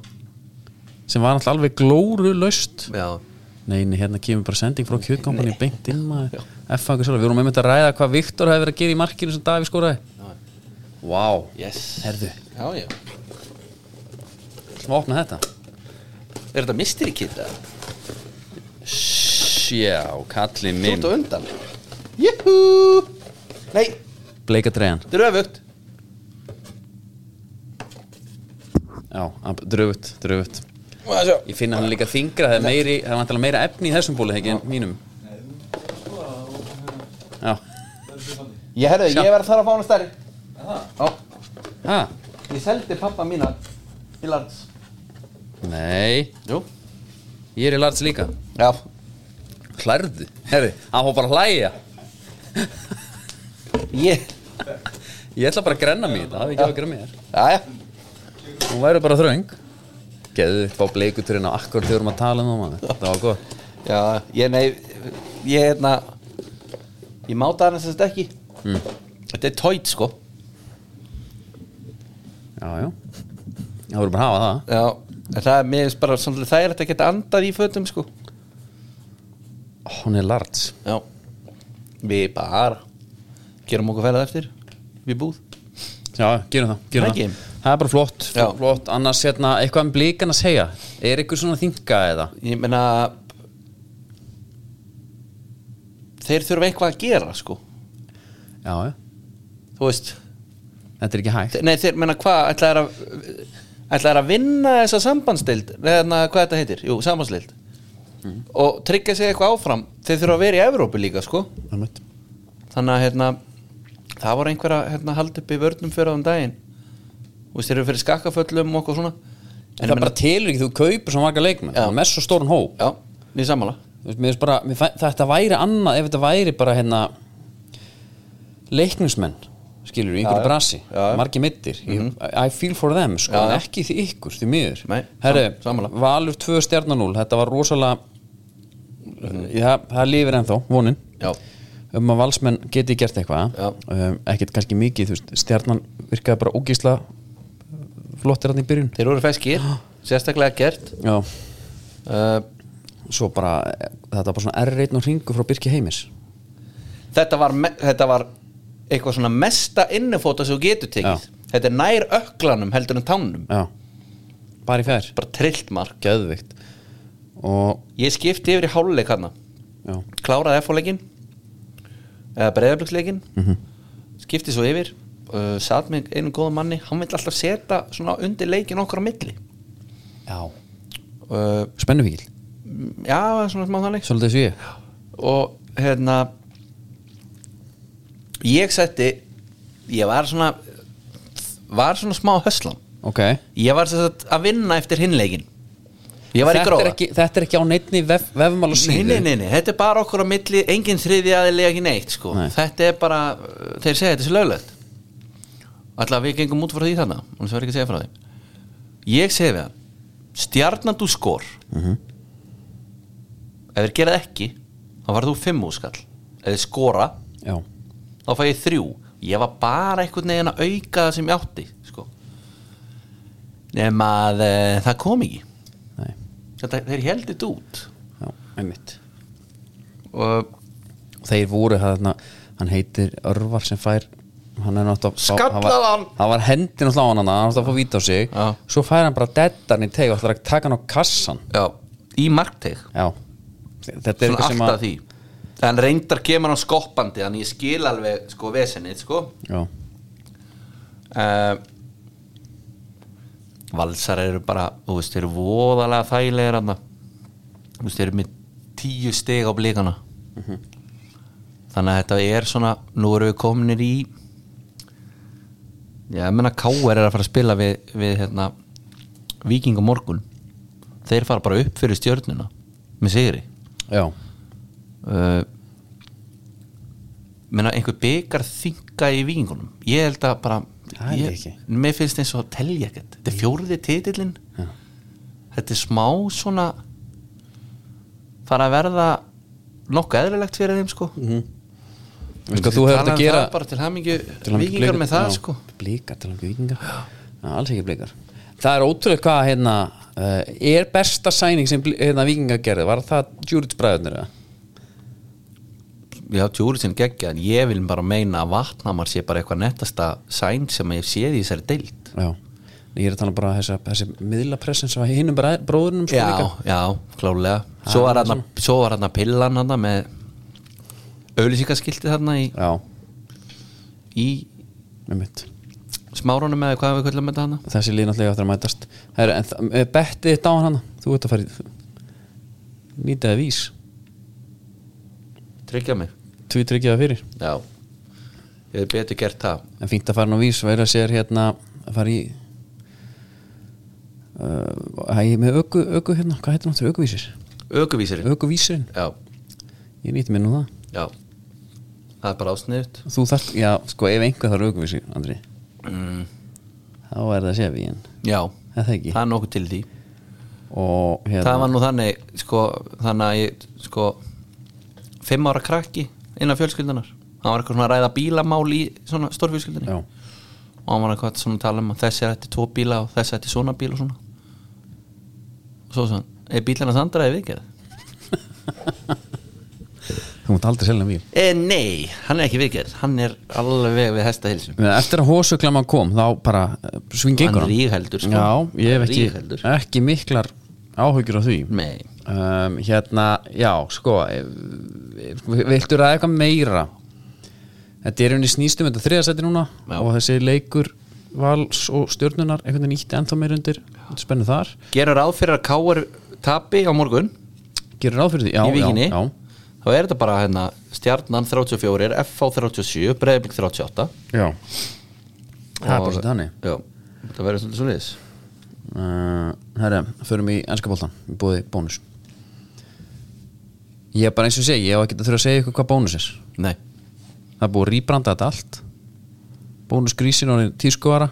A: sem var alltaf alveg glóru löst
B: já,
A: Nei, nei, hérna kemur bara sending frá kjötkompani beint inn maður F.A. Við vorum einmitt að ræða hvað Viktor hefði verið að gera í markinu sem Davíð skoraði Vá, wow.
B: yes
A: herðu,
B: já, já.
A: ætlum að opna þetta
B: er þetta mystery kid? eða?
C: Sjá, kalli
B: þú
C: minn
B: ert á undan júhú nei,
A: Bleika dregan,
B: þetta er öfugt
A: já, ab- dröfut, dröfut
B: Má að sjá.
A: Ég finn að hann er líka þingra, það er meiri, það er vantilega meira efni í þessum bóli þegar en mínum Já,
B: ég, herðu, ég var að þarf að fá hana stærri já,
A: ha,
B: ég seldi pappa mína í lands
A: nei,
B: jú,
A: ég er í larts líka
B: já
A: Hlærðu, herðu, hann fór bara að hlæja
B: ég,
A: Ég ætla bara að grenna mér, það hafði ekki að grenna mér
B: já, já
A: Hún væri bara þröng Geðu upp á bleikuturinn á akkur þegar við erum að tala um það maður Það var gott
B: Já, ég nei Ég hérna Ég máta hann þess að ekki Þetta er tóit sko
A: Já, já Það voru bara að hafa það
B: Já, en það er mér finnst bara svolítið þægilegt að geta andað í fötum sko
A: Ó, Hún er larts
B: Já Við bara Gerum okkur ferðað eftir Við búð
A: Já, gerum það, gerum
B: Ekki.
A: það Það er bara flott,
B: Já.
A: flott Annars, hérna, eitthvað um blíkan að segja Er ykkur svona þinga eða?
B: Ég meina Þeir þurfa eitthvað að gera sko
A: Já, já
B: Þú veist
A: Þetta er ekki hægt
B: Nei, þeir meina hvað Ætlaðir að Ætlaðir að vinna þessa sambandsdeild Neðna hvað þetta heitir Jú, sambandsdeild Og tryggja sig eitthvað áfram Þeir þurfa að vera í Evrópu líka sko
A: Einmitt.
B: þannig að hérna, það voru einhver að hérna, halda upp í vörnum fyrir á um daginn og þeir eru fyrir skakkaföllum og okkur svona en
A: Það bara telur ekki, þú kaupur svo marga leikmenn
B: Já.
A: Það er Mest svo stórun hó
B: já, nýð sammála
A: bara, mér, fæ- Þetta væri annað ef þetta væri bara hérna leiknismenn skilur, í einhverju
B: já.
A: brasi,
B: Já, já.
A: margir mittir I I feel for them, sko,
B: Já,
A: en
B: já.
A: ekki því ykkur því miður,
B: Nei,
A: herru,
B: sam- sammála.
A: Valur 2 stjarnanúl, þetta var rosalega
B: Mhm.
A: já, það lifir ennþá, vonin
B: já,
A: um að valsmenn geti gert eitthvað
B: Já.
A: um, ekkert kannski mikið, þú veist, stjarnan virkaði bara ógísla flottir hann í byrjun
B: þeir eru feskir sérstaklega gert
A: já,
B: uh,
A: svo eh, bara, þetta var bara svona R1 og ringu frá Birki Heimis
B: þetta var, me- þetta var eitthvað svona mesta innifóta sem þú getur tekið
A: Já.
B: þetta er nær öklanum heldur en tánum
A: já bara í fjær,
B: bara trillt mark
A: geðvikt og
B: ég skipti yfir í háluleik hana
A: já,
B: kláraði F-leikin eða breyðabliksleikin skipti svo yfir uh, satt með einu góða manni hann vill alltaf setja svona undir leikin okkur á milli
A: já.
B: uh,
A: spennuvíkil,
B: já, svona smá þannig
A: svolítið þessu ég
B: og hérna ég setti ég var svona var svona smá höslan
A: ok,
B: ég var sem sagt að vinna eftir hinleikin ég var í
A: þetta, er
B: gróða
A: ekki, þetta er ekki á neittni vef, vefmála
B: Nei, nei, nei, nei, þetta er bara okkur á milli engin þriði aðilega ekki neitt sko.
A: Nei.
B: þetta er bara, uh, þeir segja þetta sé löglegt allavega við gengum út frá því þarna og þess var ekki að segja frá því ég segi við hann stjarnandú skor ef þeir gera það ekki þá var þú fimm úskall ef þeir skora,
A: já,
B: þá fæ ég þrjú ég var bara einhvern veginn að auka það sem ég átti sko. nema að uh, það kom ekki
A: nei,
B: þetta, þeir heldur þetta út
A: já, einmitt
B: og
A: þeir voru þarna, hann heitir Örvar sem fær hann er náttúrulega
B: Skallað
A: hann var,
B: hann!
A: hann var hendin og slá hann hann hann átti að fá víta á sig
B: Já.
A: svo fær hann bara dettan í teg og ætlar að taka hann á kassan
B: já, í markteg
A: já, þetta er
B: svona
A: eitthvað sem
B: alltaf
A: að
B: því en reyndar kemur hann skoppandi þannig ég skil alveg sko vesennið sko
A: já,
B: uh, valsar eru bara þú veist, þeir eru voðalega þægilegir þarna. þú veist, þeir eru með tíu stig á blíkana Mhm. þannig að þetta er svona nú erum við kominir í já, ég menna K.R. er að fara að spila við, við hérna Víking og Morgun þeir fara bara upp fyrir stjörnuna með sigri
A: já,
B: uh, menna einhver byggar þinga í vikingunum ég held að bara
A: Það held ég
B: ég,
A: ekki.
B: mér finnst eins og að telja ekkert þetta er fjóriði titillin
A: Já.
B: þetta er smá svona fara að verða nokkuð eðlilegt fyrir þeim sko
A: Veistu hvað þú hefur þetta að gera
B: bara til hamingju
A: til hamingju
B: vikingar með það
A: já,
B: sko
A: blíkar til hann vikingar já, alls ekki blíkar það er ótrúlega hvað hérna uh, er besta sæning sem Bli- hérna, vikingar gerði var það Júrits bræðunir eða?
B: já, tjúrisin geggja en ég vil bara meina að vatnamar sé bara eitthvað nettasta sæn sem ég séð í þessari deild
A: já, ég er að tala um bara þessa, þessi miðlapressin sem var hinnum bróðurnum sko líka.
B: já, já, klálega svo var, hana, svo var hana pillan hana með auðlýsingaskiltið hana í,
A: Já,
B: í
A: með mitt
B: smárunum eða hvað við kvöldum með hana
A: Þessi líð náttúrulega eftir að mætast Herra, en það- eh, Bettið þetta á hann Þú ert að fara í Nýtaði vís
B: tryggja mig
A: Tví tryggjaði fyrir
B: já, ég hef betur gert það
A: En fínt að fara nú vís Verða sér hérna Að fara í uh, Æ, með öku, öku hérna Hvað heitir náttúrulega ökuvísir?
B: aukuvísir,
A: Ökuvísirinn
B: já,
A: Ég nýtti mér nú það
B: já það er bara ásniðut
A: Þú þarft Já, sko ef einhver þarf ökuvísir Andri
B: mm,
A: Þá er það sér við en
B: já,
A: Er Það ekki
B: það er nokkuð til því
A: Og hérna
B: það var nú þannig sko, þannig að ég sko, fimm ára krakki innan fjölskyldunar hann var eitthvað svona að ræða bílamál í svona stórfjölskyldunni
A: Já.
B: og hann var eitthvað svona að tala um að þessi er eftir tvo bíla og þessi er eftir svona bíl og svona og svo svona, er bílarna sandra eða viðgerð?
A: Þú mútt aldrei selja bíl
B: E, nei, hann er ekki viðgerð hann er alveg við hesta hilsum
A: Meina, Eftir að hósuglama kom þá bara uh, svingi ykkur
B: hann rígheldur sko
A: Já, ég hef ekki,
B: rígheldur
A: ekki miklar áhugjur á því
B: nei,
A: um, Hérna, já, sko eh, eh, Viltu ræða eitthvað meira? Þetta er einnig snýstum um þetta þriðasæti núna
B: Já.
A: og þessi leikur vals og stjörnunar einhvern veginn ítti ennþá meir undir þetta er spennu þar,
B: gerur ráð fyrir að káar tapi á morgun
A: gerir ráð fyrir því
B: í
A: já,
B: vikinni
A: já,
B: þá er þetta bara hérna stjarnan 34, FH 37 Breiðblik
A: já,
B: 38
A: já. Það er bara svolítið þannig
B: já, það verður svolítið svolítið
A: uh, Herra, förum í ennskapoltan í búði bónus Ég er bara eins og segi, ég hef ekki að þurfa að segja ykkur hvað bónus er
B: nei,
A: Það er búið að rýbranda þetta allt Bónus grísin og tískuvara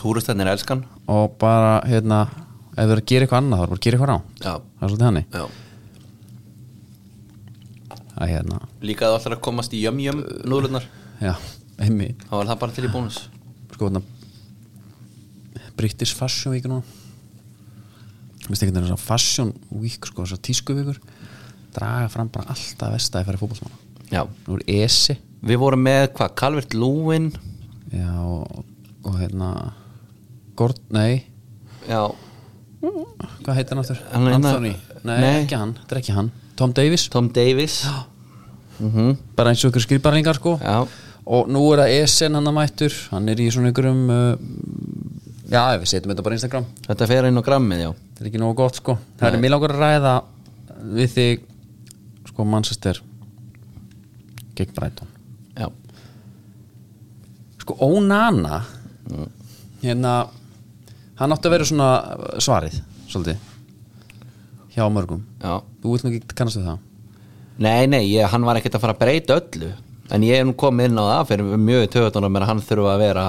B: túristennin elskan
A: og bara, hérna ef það er að gera eitthvað annað, þá er bara að gera eitthvað rá
B: já,
A: Það er svolítið hannig
B: já
A: að hérna,
B: líka að það ætlar að komast í jömjöm núðlunar
A: já, einmi
B: þá var það bara til í bónus
A: sko hérna British Fashion Week núna Mér veist ekki þetta er þess að Fashion Week sko, þess að tískuvíkur draga fram bara alltaf vestæði fyrir fótbolsmanna
B: já,
A: Nú er ESI
B: Við vorum með hvað, Calvert Lúin
A: Já, og, og hérna Gord, nei,
B: Já,
A: hvað heitir hann aftur?
B: Hann er hérna-
A: Anthony, nei,
B: Nei.
A: ekki hann, þetta er ekki hann Tom Davis,
B: Tom Davis
A: bara eins og ykkur skrifbarlingar sko
B: Já,
A: og nú er það Esen hann að mættur hann er í svona ykkurum uh, já, við setjum þetta bara á Instagram
B: þetta fer inn á grammið, já
A: þetta er ekki nógu gott sko það er mjög langar að ræða við þig sko Manchester gegn Brighton
B: Já,
A: sko Onana hérna hann átti að vera svona uh, svarið svolítið hjá mörgum
B: já
A: þú vilt nú ekki kannast við það
B: Nei, nei, ég, hann var ekkert að fara að breyta öllu En ég er nú komið inn á það fyrir mjög töðutunum er að hann þurfa að vera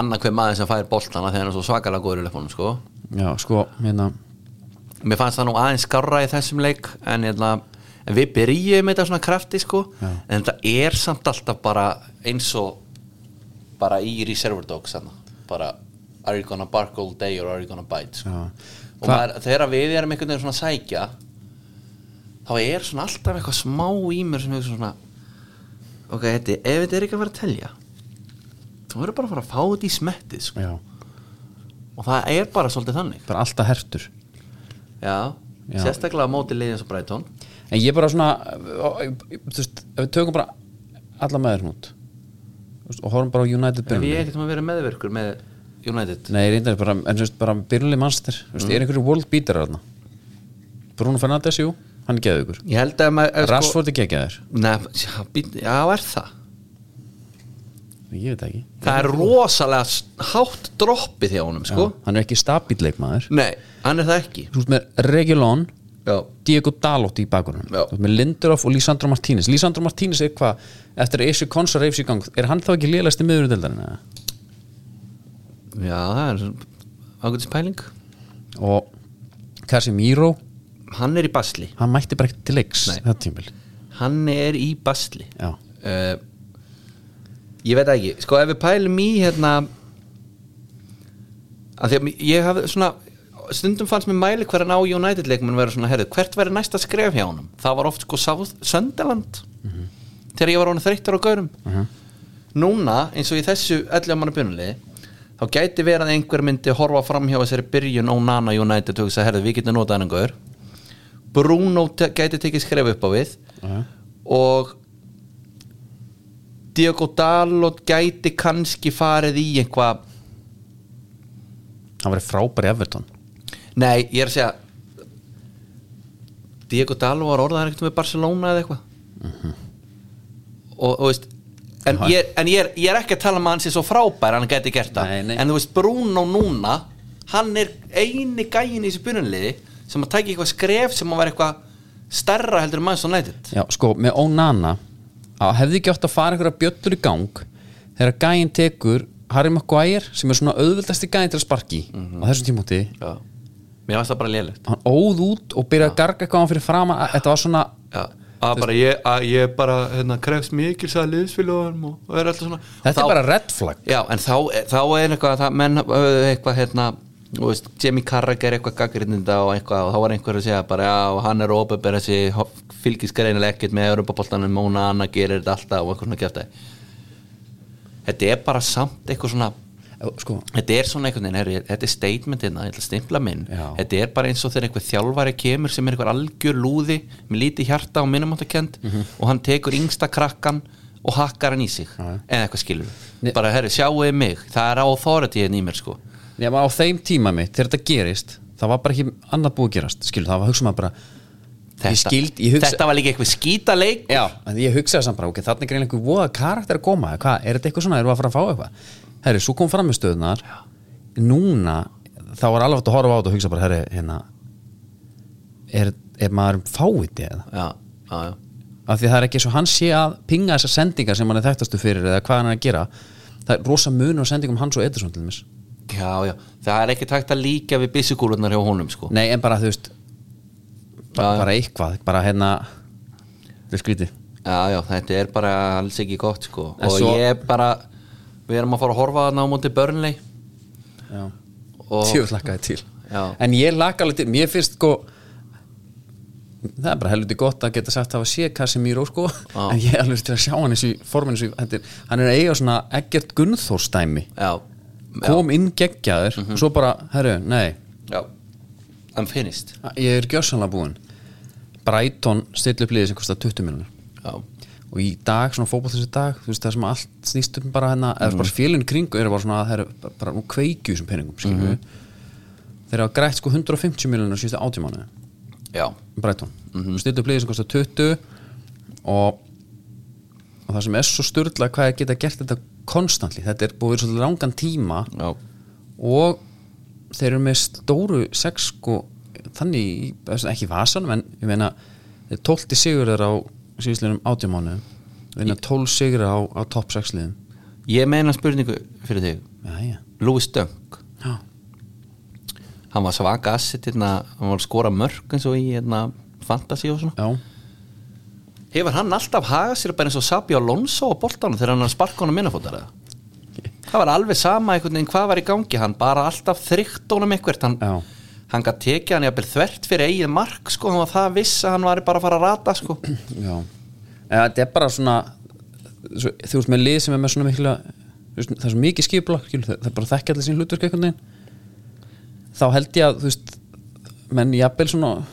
B: annað hver maður sem fær boltana þegar hann er svo svakalega góður í leifunum, sko
A: já, sko, hérna
B: Mér fannst það nú aðeins skarra í þessum leik en, hérna, en við byrjum þetta svona krafti sko, en þetta er samt alltaf bara eins og bara í Reserver Dogs hana. bara are you gonna bark all day or are you gonna bite sko.
A: Já.
B: og maður, þegar við erum einhvern veginn svona að sækja þá er svona alltaf eitthvað smá í mér sem hefur svona ok, þetta, ef þetta er ekki að fara að telja þá verður bara að fara að fá þetta í smettið sko.
A: já,
B: og það er bara svolítið þannig
A: bara alltaf hertur
B: Já,
A: Já.
B: sérstaklega á móti liðins og Brighton
A: En ég bara svona ö, ö, ö, þú veist, ef við tökum bara alla maður út þú veist, og horfum bara á United
B: Ef ég
A: byrjunni
B: ekkert maður verið meðverkur með United
A: Nei, reyndar bara, en þú veist, bara byrjunni mannstir mm. er einhverju world beater þarna Bruno Fernandes, jú, hann er geðugur
B: Ég held að maður ef
A: Rashford er geðgeður,
B: Nei, já, být- já, er það
A: ég veit það ekki
B: Það er rosalega s- hátt droppið hjá honum, sko
A: Hann er ekki stabíl leikmaður
B: Nei, hann er það ekki
A: Þú veist með Regulon
B: Já,
A: Diego Dalot í bakunum
B: Já.
A: með Lindelof og Lisandro Martínez Lisandro Martínez er hvað, eftir að Esu Konsa reyfs í gang er hann þá ekki lélæsti miðurundeldarinn
B: já það er ágætis pæling
A: og Casemiro
B: Hann er í basli
A: hann mætti bara ekki til leiks
B: Nei.
A: þetta tímil
B: Hann er í basli
A: já,
B: uh, Ég veit það ekki Sko ef við pælum í hérna að Því að ég hafði svona Stundum fannst mér mæli hverjan á United leikmenn vera svona herrið Hvert verið næsta skref hjá honum Það var oft sko South- Sunderland Þegar ég var honum þreyttur á gaurum Núna eins og í þessu 11 manna björnuliði Þá gæti verið að einhver myndi horfa fram hjá þessari byrjun á Nana United og hugsa, herðu, við getum notað hennan gaur Bruno te- gæti tekið skref upp á við og Diego Dalot gæti kannski farið í einhvað
A: hann verið frábær í Everton
B: nei, ég er að segja Diego Dalot var orðaðan ekkert með Barcelona eða eitthvað og þú veist en,
A: Jaha.
B: ég, en ég, er, ég er ekki að tala um að hann sé svo frábær hann gæti gert það,
A: Nei, nei.
B: en þú veist Bruno núna, hann er eini gæin í þessu byrjunliði sem að tæki eitthvað skref sem að vera eitthvað stærra heldur en mann svo nættið
A: já, sko, með Onana að hefði ekki átt að fara einhverja bjöllur í gang þegar gæinn tekur Harry Maguire sem er svona auðvöldasti gæinn til að sparki á þessum tímúti
B: mér varst það bara lélegt
A: hann óð út og byrjaði að garga eitthvað á hann fyrir framan að- þetta var svona
B: Já, að bara ég, að ég bara hérna, krefst mikil sæða liðsfélagum og, og er alltaf svona
A: þetta
B: þá,
A: er bara red flag
B: Já, en þá, þá er eitthvað það, menn, höfðu eitthvað hérna þú veist, Jimmy Carragher eitthvað gaggrinda og eitthvað og þá var einhver að segja bara já, og hann er ópebera sig, fylgist greinilega ekkert með Europaboltanum, Móna Anna gerir þetta alltaf og eitthvað svona kjæfta Þetta er bara samt eitthvað svona
A: sko,
B: Þetta er svona einhvern veginn, herri, þetta er hérna, statementina, þetta er stimpla minn
A: Já.
B: Þetta er bara eins og þegar einhver þjálfari kemur sem er einhver algjör lúði með lítið hjarta og minnumáttakend
A: Mhm.
B: og hann tekur yngsta krakkan og hakkar hann í sig eða eitthvað skilur
A: Nei.
B: Bara, herri, sjáuði mig, það er authority hérna í mér sko
A: nema á þeim tíma mitt þegar þetta gerist, það var bara ekki annað búið að gerast, skilu, það var hugsa maður bara ég
B: Þetta,
A: skild, ég hugsa
B: þetta var líka eitthvað skítaleik
A: Já, en ég hugsaði samt bara, ok, þannig er einhver voða karakter að koma, eða hvað, er þetta eitthvað svona, erum við að fara að fá eitthvað? Herri, svo kom fram með stöðunar, núna, þá var alveg hægt að horfa á þetta og hugsa bara, herri, hérna, er, er maður fáviti eða?
B: Já, já, já,
A: Af því það er ekki eins og hann sé að pinga þessar sendingar sem hann er þekktastu fyrir eða hvað hann er að gera, það er rosa munur á sendingum hans og Edison til þess.
B: já, já Það er ekki takt að líka við byssukúlunar hjá honum sko
A: Nei, en bara, þú veist, bara,
B: Já, já.
A: bara eitthvað, bara hérna, þetta er skrítið.
B: Já, já, þetta er bara alls ekki gott sko
A: En
B: og
A: svo-
B: ég bara, við erum að fara að horfa þarna á móti börnlei
A: Já.
B: og
A: Tjóð lakkaði til
B: Já.
A: En ég lakka alveg til, mér finnst sko það er bara helviti gott að geta sagt að hafa sé Casemiro sko, en ég er alveg til að sjá hann þessu forminu, þessu, þetta er, hann er að eiga svona ekkert Gunnþórstæmi
B: já, Mhm.
A: kom inn geggjaður og svo bara, herru, nei
B: já I'm finished
A: ég er gjössanlega búinn Brighton stilli upp liðið sem kostar 20 miljonir
B: já,
A: og í dag, svona fótboll þessi dag þú veist, það sem allt snýst um bara hérna eða bara félun kring eru bara svona að það eru bara, bara nú kveikju þessum peningum, skiljum mm -hmm. þeir hafa grætt sko 150 miljonir síðustu átjumánu
B: já,
A: Brighton mm -hmm. stilli upp liðið sem kostar 20 og og það sem er svo styrla hvað er geta gert þetta konstantli, þetta er búið svolítið langan tíma
B: já,
A: og þeir eru með stóru sex sko, þannig í- ekki í vasanum en ég meina þeir 12 sigur þeir á síðustlunum átjumánu vinna 12 sigur á, á topp 6 liðum
B: ég meina spurningu fyrir þig
A: Jæja.
B: Louis Dunk,
A: já,
B: hann var svaka asset hérna, hann var að skora mörg eins og í hérna, fantasy og svona
A: já,
B: hefur hann alltaf hagað sér bara eins og Sabi Alonso á boltanum þegar hann er að sparka honum minnafótar eða það var alveg sama einhvern veginn hvað var í gangi hann bara alltaf þrygt honum eitthvert hann,
A: Já.
B: hann gæti tekið hann jafnvel þvert fyrir eigið mark sko, hann var það viss að hann var bara að fara að rata sko.
A: já. Eða, þetta er bara svona svo, þú veist með lið sem er með svona mikla þú veist, það er svo mikið skipla skilu, það, það er bara þekkja allir sín hlutverk einhvern veginn þá held ég að þú veist menn jafnvel svona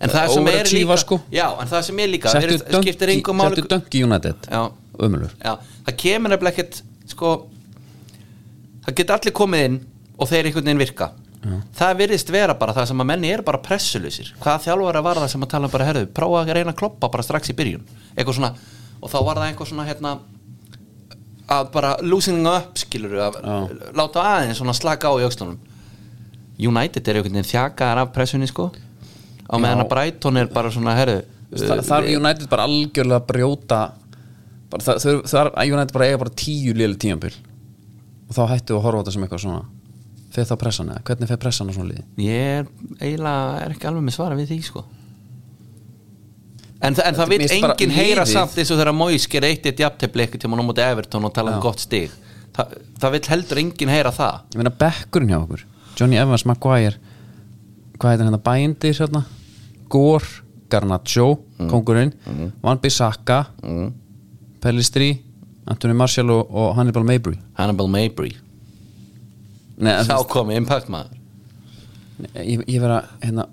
B: en það sem er
A: Overachieve,
B: líka
A: sko.
B: já, en það sem er líka
A: settu
B: er,
A: dunk
B: skiptir
A: í-
B: engum máli
A: settu dunk í United
B: já,
A: ömulur
B: já, það kemur nefnilega ekkert sko það geta allir komið inn og þeir einhvern veginn virka það virðist vera bara það sem að menni eru bara pressulausir hvað þjálfur að varða sem að tala um bara herðu prófa að reyna að kloppa bara strax í byrjun eitthvað svona, og þá var það eitthvað svona hérna að bara loosening up skilur að láta aðeins svona slaka á í aukstunum United er einhvern veginn þjakaðar af pressunni sko á meðan að Brighton er bara svona herðu
A: Þa,
B: uh,
A: þar er United bara algjörlega að brjóta bara, þar, þar, þar er United bara eiga bara tíu liðli tíambil og þá hættu að horfa á þetta sem eitthvað svona fer þá pressan eða, hvernig fer pressan á svona liði
B: Ég er eiginlega er ekki alveg með svara við því sko En, þa en það vil
A: mér finnst bara
B: enginn heyra
A: liðið-
B: samt eins og þegar Mois ger eitt eitt jafntefli ekkert tíma á móti Everton og tala um gott stig Þa, Það vil heldur enginn heyra það
A: ég meina bekkurinn hjá okkur Johnny Evans, Maguire hvað heitir hérna, Bæindi hérna? Gore, Garnaccio kongurinn, Van Bissaka Pellistri Anthony Marshall og, og Hannibal Mabry
B: Hannibal Mabry,
A: Nei, en
B: sá
A: þú veist,
B: komi impact maður
A: ég, ég vera hérna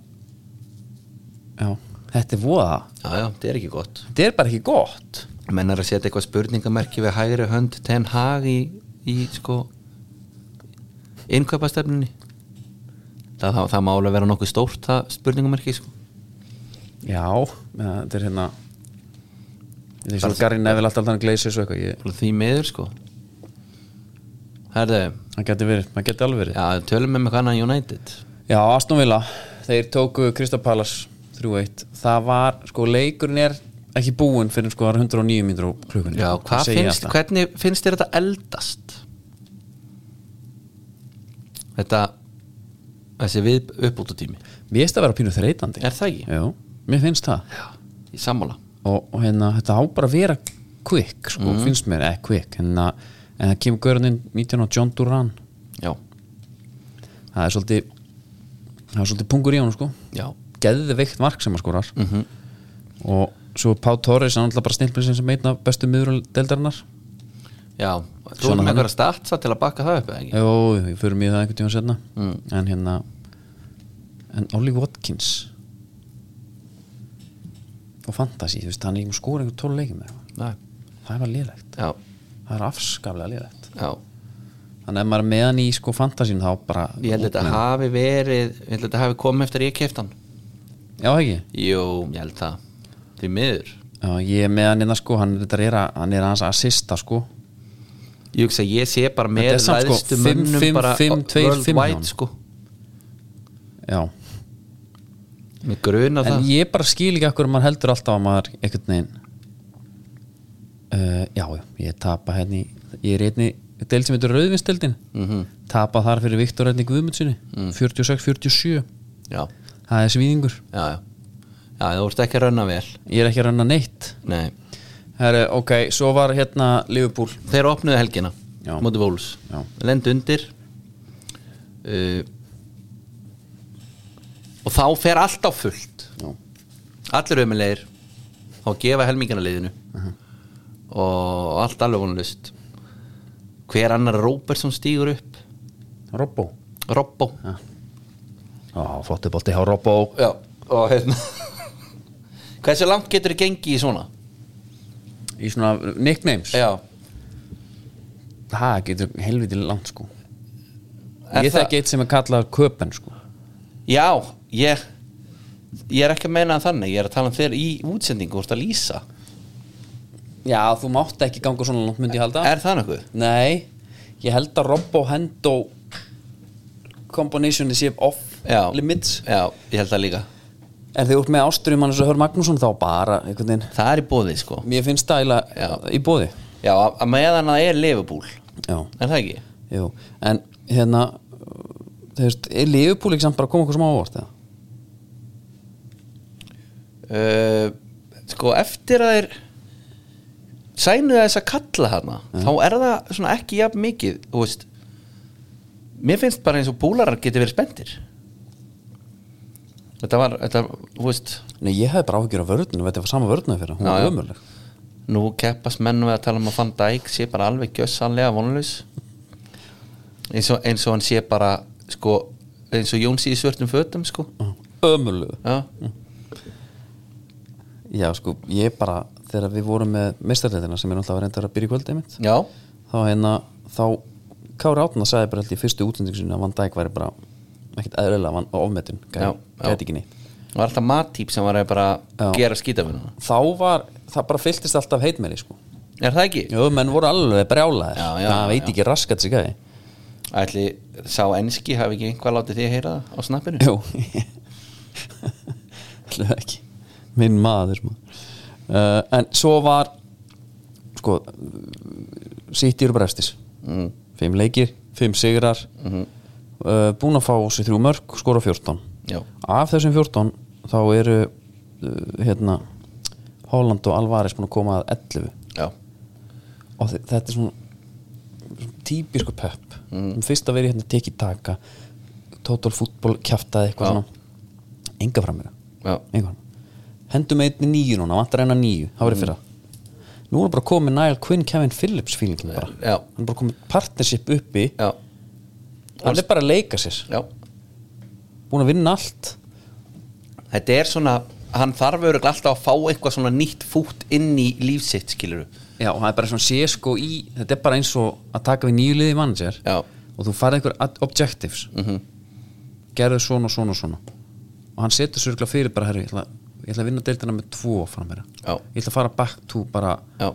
A: já, þetta er voða
B: Já, já, það er ekki gott
A: þetta er bara ekki gott
B: Menn er að setja eitthvað spurningamerki við hægri hönd Ten Hag í, í sko innkaupastefnunni það, það, það má alveg vera nokkuð stórt það spurningamerki sko
A: Já, eða, þetta er hérna Þetta er svona Gary Neville alltaf hann gleysið svo eitthvað ég,
B: Bara því miður sko Herðu,
A: Það geti verið, maður geti alveg verið
B: já, tölum við með hvað annað United
A: Já, Aston Villa, þeir tóku Crystal Palace 3-1 Það var, sko, leikurinn er ekki búinn fyrir sko, það eru 109 mínútur á klukkunni
B: Já,
A: Það
B: hvað
A: segi ég
B: finnst,
A: alltaf.
B: hvernig finnst þér þetta eldast? Þetta þessi við uppbútu tími
A: Mér finnst það að vera pínu þreytandi
B: Er það ekki?
A: Jú, mér finnst það
B: Já, í sammála
A: og, og hérna, þetta á bara að vera quick, sko,
B: Mhm.
A: finnst mér, ekki quick hérna, en það kemur görðin 19 og John Duran
B: Já,
A: það er svolítið það er svolítið pungur í honum, sko
B: já,
A: geðveikt mark sem að skorar
B: Mhm.
A: -hmm. og svo Pá Torres hann er alltaf bara snillprinsinn sem einn af bestu miðurum deildarinnar
B: já Þú
A: Svona
B: erum
A: menn.
B: einhverja statsa til að bakka það upp eða ekki?
A: Jó, ég fyrir mjög það einhvern tíma setna
B: Mm.
A: en hérna en Ollie Watkins og Fantasí, þú veist, hann er ekki skóra einhver tól leikum með
B: Nei,
A: það er bara liðlegt,
B: já,
A: það er afskaflega liðlegt
B: já
A: þannig að ef maður er meðan í sko Fantasín þá bara
B: Ég held að þetta hafi verið Ég held að þetta hafi komið eftir að ég keftan
A: Já, ekki?
B: Jú, ég held það Því miður
A: Já, ég er meðan hérna sko, hann, þetta er, að, hann er aðeins að assista sko
B: ég hugsa að ég sé bara með
A: Þetta er samt, sko,
B: læðstu
A: fimm,
B: mönnum
A: fimm,
B: bara
A: fimm, tveir, fimm hjá honum.
B: worldwide sko
A: Já,
B: með gruna
A: en
B: það
A: ég bara skil ekki akkur maður heldur alltaf að maður einhvern veginn uh, já, já, ég tapa henni ég er í einni deild sem heitur rauðvinsdeildin
B: Mhm.
A: tapa þar fyrir Viktor Edni Guðmundssoni 46-47
B: já,
A: það er svíðingur,
B: já, já já, þú ert ekki að rauna vel
A: ég er ekki að ranna neitt
B: Nei.
A: Heru, ok, svo var hérna Liverpool
B: þeir opnuðu helgina
A: Já.
B: móti vóls
A: Já.
B: lend undir uh, og þá fer allt á fullt
A: Já.
B: allir ömulegir og gefa helmingana liðinu
A: Mhm.
B: og allt alveg vonlust hver annar Róbertsson stígur upp
A: Robbo
B: Robbo
A: Já, fóttibolti hjá Robbo
B: Já, og hérna Hversu langt getur þið gengið í svona?
A: Í svona nicknames
B: Já
A: Það getur helviti langt sko
B: Er
A: Ég
B: það-
A: þekki eitt sem er kallað köpen sko
B: Já, ég Ég er ekki að meina það þannig, ég er að tala um þér í útsendingu úr að lýsa
A: Já, þú mátt ekki ganga svona langt myndi ég halda
B: Er það nokkuð?
A: Nei, ég held að Robbo Hendo combinationi sé off
B: Já.
A: limits
B: Já, ég held það líka
A: En þegar þú ert með ásturum hann eins og Hör Magnússon þá bara einhvern veginn
B: Það er í bóði sko
A: Mér finnst stæla
B: Já.
A: í bóði
B: Já, að að meðan það er lefubúl
A: Já,
B: Er það ekki?
A: jú En hérna Þú veist, er Liverpool ekki samt bara að koma okkur sem ávart eða?
B: Uh, sko, eftir að þeir sænu þess að kalla hana þá er það svona ekki jafn mikið þú veist mér finnst bara eins og búlarar geti verið spendir þetta var þetta, þú veist
A: Nei, ég hefði bara áhyggjur af vörðinu, þetta var sama vörðinu fyrir hún
B: Já,
A: var
B: já.
A: ömurleg
B: nú keppast menn við að tala um að Van Dijk sé bara alveg gjössanlega vonlaus eins og, eins og hann sé bara sko, eins og Jónsi í svörtum fötum sko,
A: Ömurleg
B: já,
A: Já, sko, ég bara, þegar við vorum með mestarleitina sem er náttúrulega reyndar að byrja í kvöldið mitt
B: já
A: þá hérna, þá Kári Átna sagði bara held í fyrstu útlendingsunni að Van Dijk væri bara ekkert eðlilega van, ofmetin,
B: Já,
A: gæti,
B: já.
A: gæti ekki neitt
B: var alltaf mattýp sem var að bara
A: Já.
B: gera skítafinnuna
A: þá var, það bara fylltist alltaf heitmeri sko.
B: er það ekki?
A: Jú, menn voru alveg brjálaðir
B: Já, já,
A: það
B: já,
A: veit
B: já.
A: ekki raskat sig gæði
B: Ætli sá enski hafi ekki einhvað látið því að heyra það á snappinu?
A: Jú Alltaf ekki Minn maður maður. uh, En svo var sko Sitt eru brestis mm. Fimm leikir, fimm sigrar uh, Búin að fá sér þrjú mörg skora 14
B: Já.
A: Af þessum 14 þá eru uh, hérna Holland og Alvarez búin að koma að 11
B: Já,
A: og þe- þetta er svona svona típisku pöpp mm. fyrst að vera í hérna teki taka total fútbol, kjaftaði
B: Já.
A: eitthvað svona enga fram meira
B: já,
A: enga fram hendum einni nýju núna, vantar eina nýju það verið fyrra nú er bara komið Niall Quinn, Kevin Phillips fílingin bara
B: Já.
A: hann er bara komið partnership uppi
B: já,
A: hann er bara að leika sér,
B: já.
A: búin að vinna allt
B: Þetta er svona, hann þarf örugglega alltaf að fá eitthvað svona nýtt fút inn í lífsitt, skilur
A: já, og það er bara svona sé sko í þetta er bara eins og að taka við nýju liði mann sér
B: Já, Mhm.
A: og þú farið einhver ad- objectives -hmm. gerðu svona og svona og svona og hann setur sér örugglega fyrir bara herri, ég, ætla, ég ætla að vinna deildina með tvo fram meira
B: Já.
A: ég ætla að fara back to bara
B: já.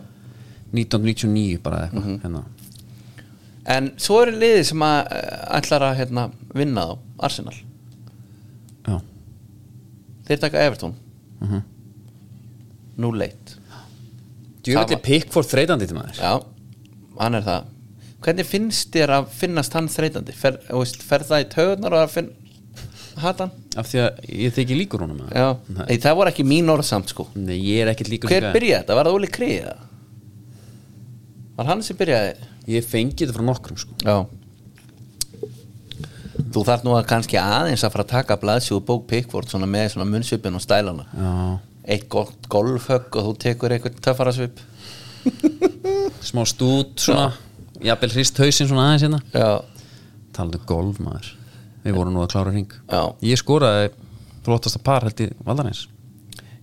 A: 1999 bara eða eitthvað
B: Mhm.
A: hérna.
B: En svo eru liðið sem að eh, ætlar að hérna, vinna þá, Arsenal
A: já,
B: Þeir taka Everton Mhm. Nú leitt
A: djöfelli
B: var-
A: Pickford þreytandi til maður
B: Já, hann er það Hvernig finnst þér að finnast hann þreytandi? Fer, þú veist, fer það í tögunar og að finn hata hann?
A: af því að ég þykir líkur honum eða?
B: Já,
A: Nei.
B: Ei, það voru ekki mín orð samt sko
A: Nei, ég er ekkert líkur
B: Hver
A: sem gæði.
B: byrjaði þetta? Var það Óli Kriða? Var hann sem byrjaði?
A: ég fengi þetta frá nokkrum sko.
B: Já Þú þarf nú að kannski aðeins að fara að taka blaðsjú og bók Pickford svona með svona munnsvipin og stælana
A: já,
B: Eitt gott golfhögg og þú tekur eitthvað töffarasvip
A: smá stút svona, jafnvel hrist hausinn svona aðeins hérna
B: Já,
A: talaðu um golf maður við vorum nú að klára hring
B: Já.
A: ég skoraði flottasta par held ég valdarins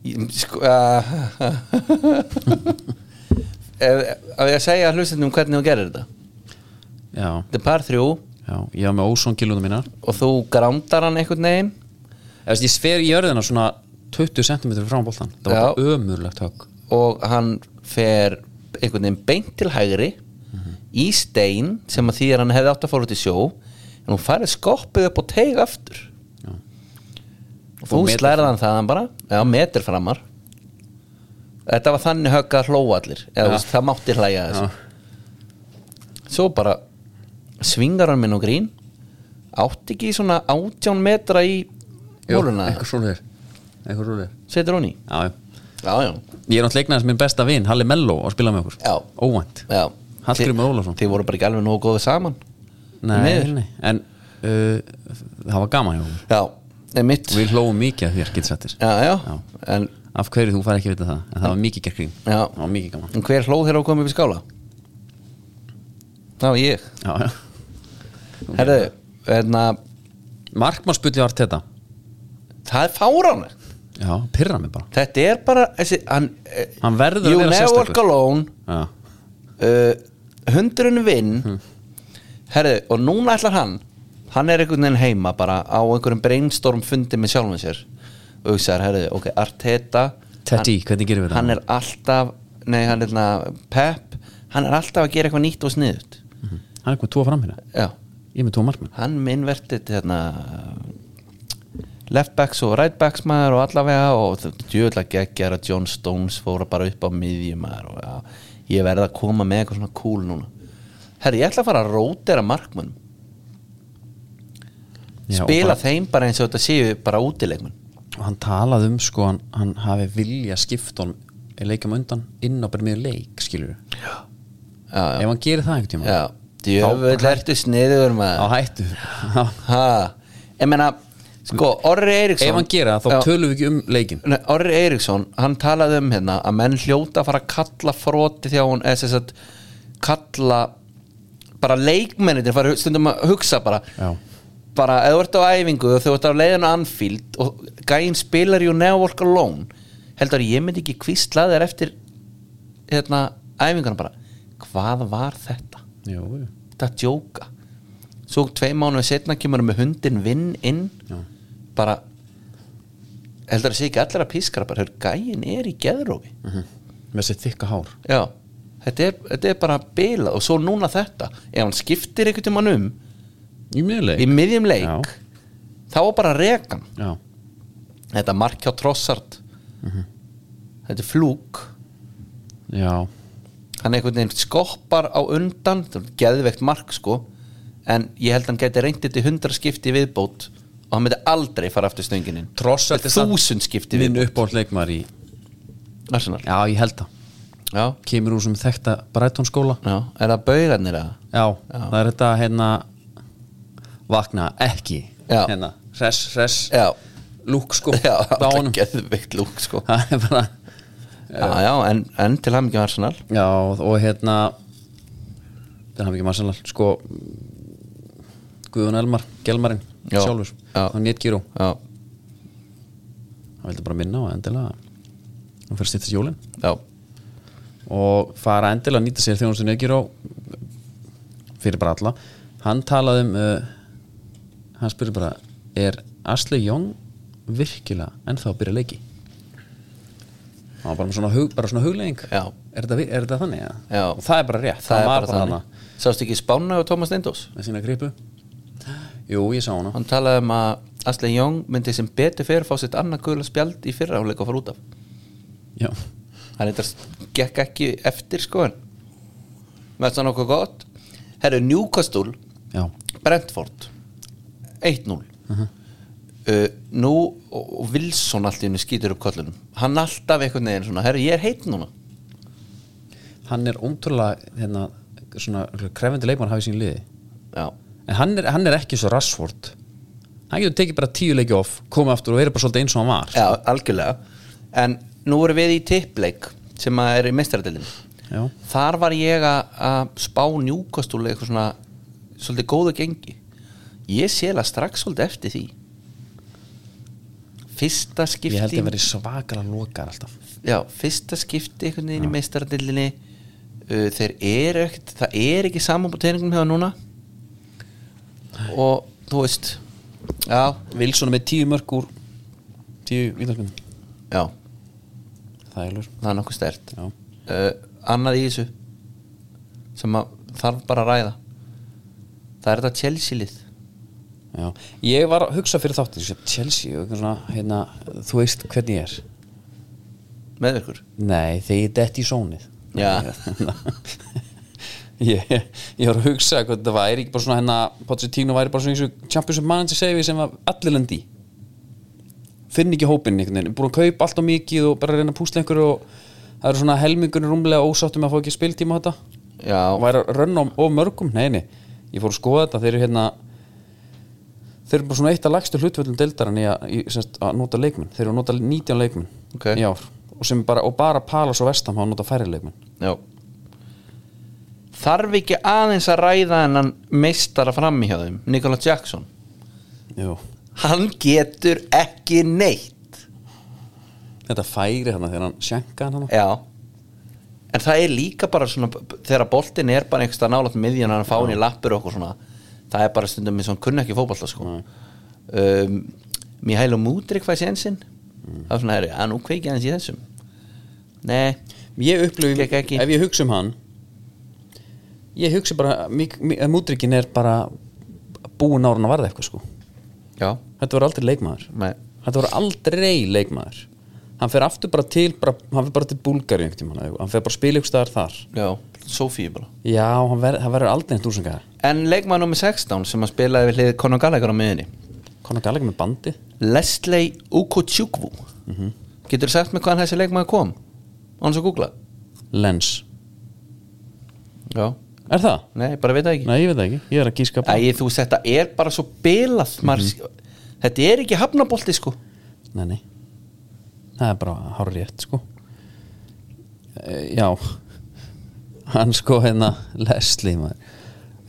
B: Ég- sko, uh, Ef ég að segja hlustendum hvernig þú gerir þetta
A: já,
B: Þetta er par þrjú
A: já, ég var með ósón kilóna mínar
B: og þú grándar hann einhvern veginn
A: Eða, veist, ég sfer í jörðina svona 20 cm frá boltan, það var
B: Já.
A: ömurlegt högg
B: og hann fer einhvern veginn beint til hægri í stein sem að því að hann hefði átt að fara út í sjó en hún farið skoppið upp og teig aftur og þú
A: fór metur
B: slærið hann þaðan bara já, metur framar þetta var þannig högg að hlóa allir eða, þú veist, það mátti hlæja þessu svo bara svingar hann minn og grín átti ekki svona 18 metra í hóluna,
A: eitthvað svoleiðir eitthvað svoleiðir
B: setur hún í
A: Já, já.
B: já, já,
A: ég er náttúrulega leiknaðis minn besta vin, Halli Mello að spila með okkur,
B: Já.
A: óvænt
B: já.
A: Hallgrímur
B: Þi-
A: Ólafsson.
B: þið voru bara ekki alveg nógu góðið saman
A: nei,
B: Miður.
A: nei, en uh, það var gaman hjá okkur
B: Já, er mitt
A: við hlóum mikið að þér, getur sættir
B: já, já,
A: Já.
B: En
A: af hverju þú fær ekki að vita það en það var mikið gerkring,
B: Já.
A: það var mikið gaman
B: En hver hlóð þeirra að koma upp í skála? Það var ég
A: já, já.
B: Herðu, hérna,
A: markmannspulli var þetta
B: það er fáránlegt
A: já, pyrra mig bara
B: Þetta er bara þessi, hann, eh,
A: Hann verður að
B: You
A: vera
B: never
A: sérstakur.
B: work alone
A: já,
B: uh, Hundurinn vinn
A: Hm.
B: Herðu, og núna ætlar hann Hann er einhvern veginn heima bara á einhverjum brainstorm fundi með sjálfum sér og hugsaðar, herðu, ok, Arteta
A: Teddy,
B: hann-
A: hvernig gerum við það?
B: Hann er alltaf, nei, hann er hérna, Pep Hann er alltaf að gera eitthvað nýtt og sniðut
A: Mhm. hann er komið tvo fram hérna
B: Já,
A: ég er með tvo markmann
B: hann innvertið hérna leftbacks og rightbacks maður og allavega og djöðla geggjara John Stones fóra bara upp á miðjum maður og já, ég verði að koma með eitthvað svona cool núna herri, ég ætla að fara að rótera markmann
A: Já, og
B: spila
A: bara-
B: þeim bara eins og þetta séu bara útileikmann
A: og hann talaði um sko hann, hann hafi vilja skipt honum leikum undan inn á bara með leik skilur
B: já, já,
A: ef hann gerir það einhvern tíma
B: já djöðla ertu sniður
A: á
B: maður
A: hættu Já.
B: ha, ég meina sko, Orri Eiríksson
A: ef hann gera það
B: Já.
A: þá tölum við ekki um leikin
B: Nei, Orri Eiríksson, hann talaði um hérna að menn hljóta að fara að kalla froti því að hún, eða þess að kalla bara leikmennir fara stundum að hugsa bara
A: Já.
B: bara, ef þú ert á æfingu og þú ert á leiðinu anfíld og gæinn spilar ju nevolk alone heldur að ég myndi ekki kvistla þér eftir hérna, æfinguna bara hvað var þetta?
A: Jú, jú.
B: Þetta að djóka svo tvei mánuði setna kemur hann með hundin vinn inn
A: Já.
B: bara heldur að sé ekki allir að pískara bara, hör, gæin er í geðrófi
A: með þessi þykka hár
B: já, þetta er, þetta er bara bilað og svo núna þetta, ef hann skiptir einhvern tímann um
A: í miðleik
B: í miðjum leik
A: Já.
B: þá er bara rekan
A: já.
B: þetta markjá trossart þetta er flúk
A: já,
B: hann einhvern veginn skoppar á undan þetta er geðveikt mark sko en ég held að hann gæti reyndið til hundra skipti í viðbót og hann myndi aldrei fara aftur stöngininn
A: Trossard er samt
B: þúsund skipti í
A: minn
B: viðbót
A: uppáhald leikmaður í
B: Arsenal.
A: já, ég held það
B: já,
A: kemur úr sem þekta Brighton skóla
B: já, er það baugarnir að
A: já, það er þetta hérna vakna ekki
B: Já.
A: hérna, hress, hress
B: já,
A: lúk sko
B: já,
A: á honum.
B: geðveikt lúk sko
A: það er bara
B: já, já, en, en til hann ekki Arsenal
A: já, og og hérna það hafði ekki massalar sko Guðun Elmar, Gelmarinn
B: Já.
A: sjálfur,
B: Já.
A: hann nétt gíró
B: já,
A: hann vildi bara minna á að endilega hann fyrir að stýttast jólin
B: já,
A: og fara endilega að nýta sér þjónustu Negiró fyrir bara alla hann talaði um uh, hann spurði bara er Asli Jón virkilega ennþá að byrja leiki hann var bara með svona, hug, bara svona huglegging
B: Já.
A: er þetta, vi- er þetta þannig? eða?
B: Já.
A: og það er bara rétt,
B: það er bara
A: hana
B: þannig sástu ekki Spána og Thomas Lindos
A: með sína gripu jú, ég sá hana
B: hann talaði um að Asli Young myndi sem betur fyrir fá sitt annað gula spjald í fyrra hún leik að fara út af
A: já,
B: hann eitthvað gekk ekki eftir sko en veist það nokkuð gott herru Newcastle
A: já,
B: Brentford 1-0 uh, nú og og Wilson allt í henni skýtur upp kollunum hann alltaf einhvern veginn svona herru ég er heitt núna
A: hann er ótrúlega hérna, svona krefindi leikmann hafið sín liði
B: já,
A: en hann er, hann er ekki svo rassvort hann getur tekið bara tíu leiki off komið aftur og verið bara svolítið eins og hann var
B: já algjörlega en nú erum við í tippleik sem að er í mestaradildin
A: já,
B: þar var ég að- að spá njúkastúli eitthvað svona svolítið góðu gengi ég séla strax svolítið eftir því fyrsta skipti
A: ég held að verið svakara lokar alltaf
B: já, fyrsta skipti einhvern veginn í meistaradildinni uh, þeir eru ekkert það er ekki saman på teiningum hjá núna og þú veist já,
A: Vilsson er með tíu mörg úr tíu vítarkunum
B: já,
A: það er lur
B: það er nokkuð stert
A: Já.
B: uh, annað í þessu sem að þarf bara að ræða það er þetta Chelsea-lið
A: já. ég var að hugsa fyrir þáttir sem Chelsea, og eitthvað svona, hérna, þú veist hvernig ég er
B: með ykkur
A: nei, þegar ég detti í sónið
B: Já.
A: ég, ég var að hugsa hvað þetta væri ekki bara svona hérna Pochettino væri bara svona eins og Championship Manager segi sem var allir lendi í finn ekki hópinn einhvern veginn, búin að kaupa allt á mikið og bara reyna að púsla einhverju og það eru svona helmingunni rúmlega ósáttum að fá ekki spiltíma á þetta
B: já,
A: og væri að rönna of mörgum, nei nei ég fór að skoða þetta, þeir eru hérna þeir eru bara svona eitt af lagstu hlutvöldum deildarinn í, að, í semst, að nota leikmenn þeir eru að nota 19 leikmenn
B: Ok.
A: í ár og, sem bara, og bara Palas og Vestam hafa nota færri leikmenn
B: Já Þarf ekki aðeins að ræða hennan meistara frammi hjá þeim Nikola Jackson
A: Jú.
B: Hann getur ekki neitt
A: þetta færi þarna þegar hann sjenka hann hana.
B: Já En það er líka bara svona þegar boltin er bara einhverstað nálaðt miðjan hann fá hann í lappur og okkur svona það er bara stundum eins og hann kunni ekki fótballa sko um, Mihailo Mudrik fæði sénsinn það er svona herri, að nú kveiki hans í þessum Nei,
A: ég upplöfum,
B: Gekk ekki.
A: ef ég hugsa um hann ég hugsa bara að Mik- Mi- að mútrykkin er bara búin ára hann að varða eitthvað sko
B: já,
A: þetta voru aldrei leikmaður
B: nei
A: þetta voru aldrei leikmaður hann fer aftur bara til bara, hann fer bara til Búlgari hann fer bara að spila ykkur staðar þar
B: Já, Sofíu bara
A: já, hann ver, það verður aldrei neitt úr sem gæðar
B: En leikmaður nummer 16 sem að spilaði við hlið Conor Gallagher á miðinni
A: konar gæðlega með bandi
B: Leslie Ukochukwu Getur sagt mér hvaðan þessi leikmaður kom? Án svo googla
A: lens,
B: Já,
A: er það?
B: nei, bara veit það ekki
A: nei, ég veit það ekki, ég er að gíska bara
B: Æ, þú veist, þetta er bara svo bilað mm Þetta er ekki hafnabolti sko
A: nei, nei það er bara hár rétt sko e, já hann sko hérna Leslie maður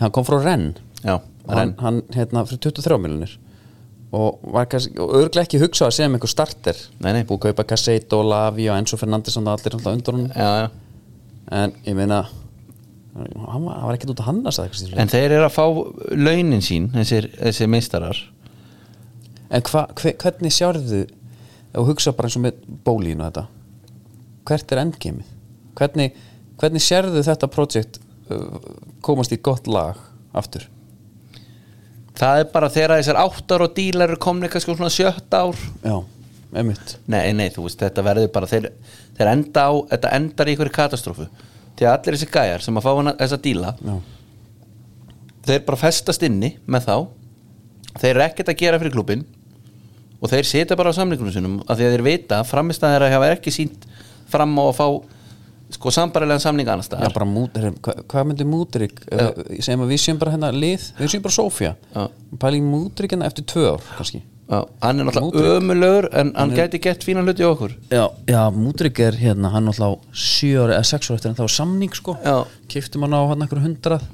A: hann kom frá Renn
B: Já,
A: hann,
B: hann,
A: hann hérna fyrir 23 miljonir og var kannski, og örglega ekki hugsað að segja með einhver starter
B: Nei, nei.
A: búið að kaupa Casseito, Lavi og Enzo Fernandes og allir alltaf undur honum
B: já, já
A: en ég meina hann var, hann var ekkert út að hann að sagði Kristín.
B: En þeir eru að fá launin sín þessir, þessir meistarar
A: en hva, hve, hvernig sjárðu og hugsa bara eins og með bólínu þetta hvert er endgeimið hvernig, hvernig sérðu þetta projekt uh, komast í gott lag aftur
B: Það er bara þegar þessar áttar og dílar eru komni kannski á svona sjötta ár
A: já, einmitt
B: Nei, nei, þú veist, þetta verður bara þeir, þeir enda á, þetta endar í einhverju katastrófu því að allir þessi gæjar sem að fá hana, þessa díla
A: Já.
B: þeir bara festast inni með þá þeir eru ekkert að gera fyrir klubin og þeir sita bara á samlingunum sinum af því að þeir vita að framist að þeirra hafa ekki sínt fram á að fá sko sambarilegan samling annars
A: Já,
B: staðar
A: bara mútir, hvað, hvað myndir mútirik sem að við séum bara hennar lið við séum bara Sofía
B: Já.
A: pæling mútirik hennar eftir tvö ár kannski
B: Já, hann er náttúrulega
A: Mútrik.
B: ömulögur en hann gæti gett fínan hluti í okkur
A: Já, já mútirik er hérna hann alltaf sjö ára eða sex ára eftir en það var samning sko
B: Já.
A: kiftum hann á hann einhver hundrað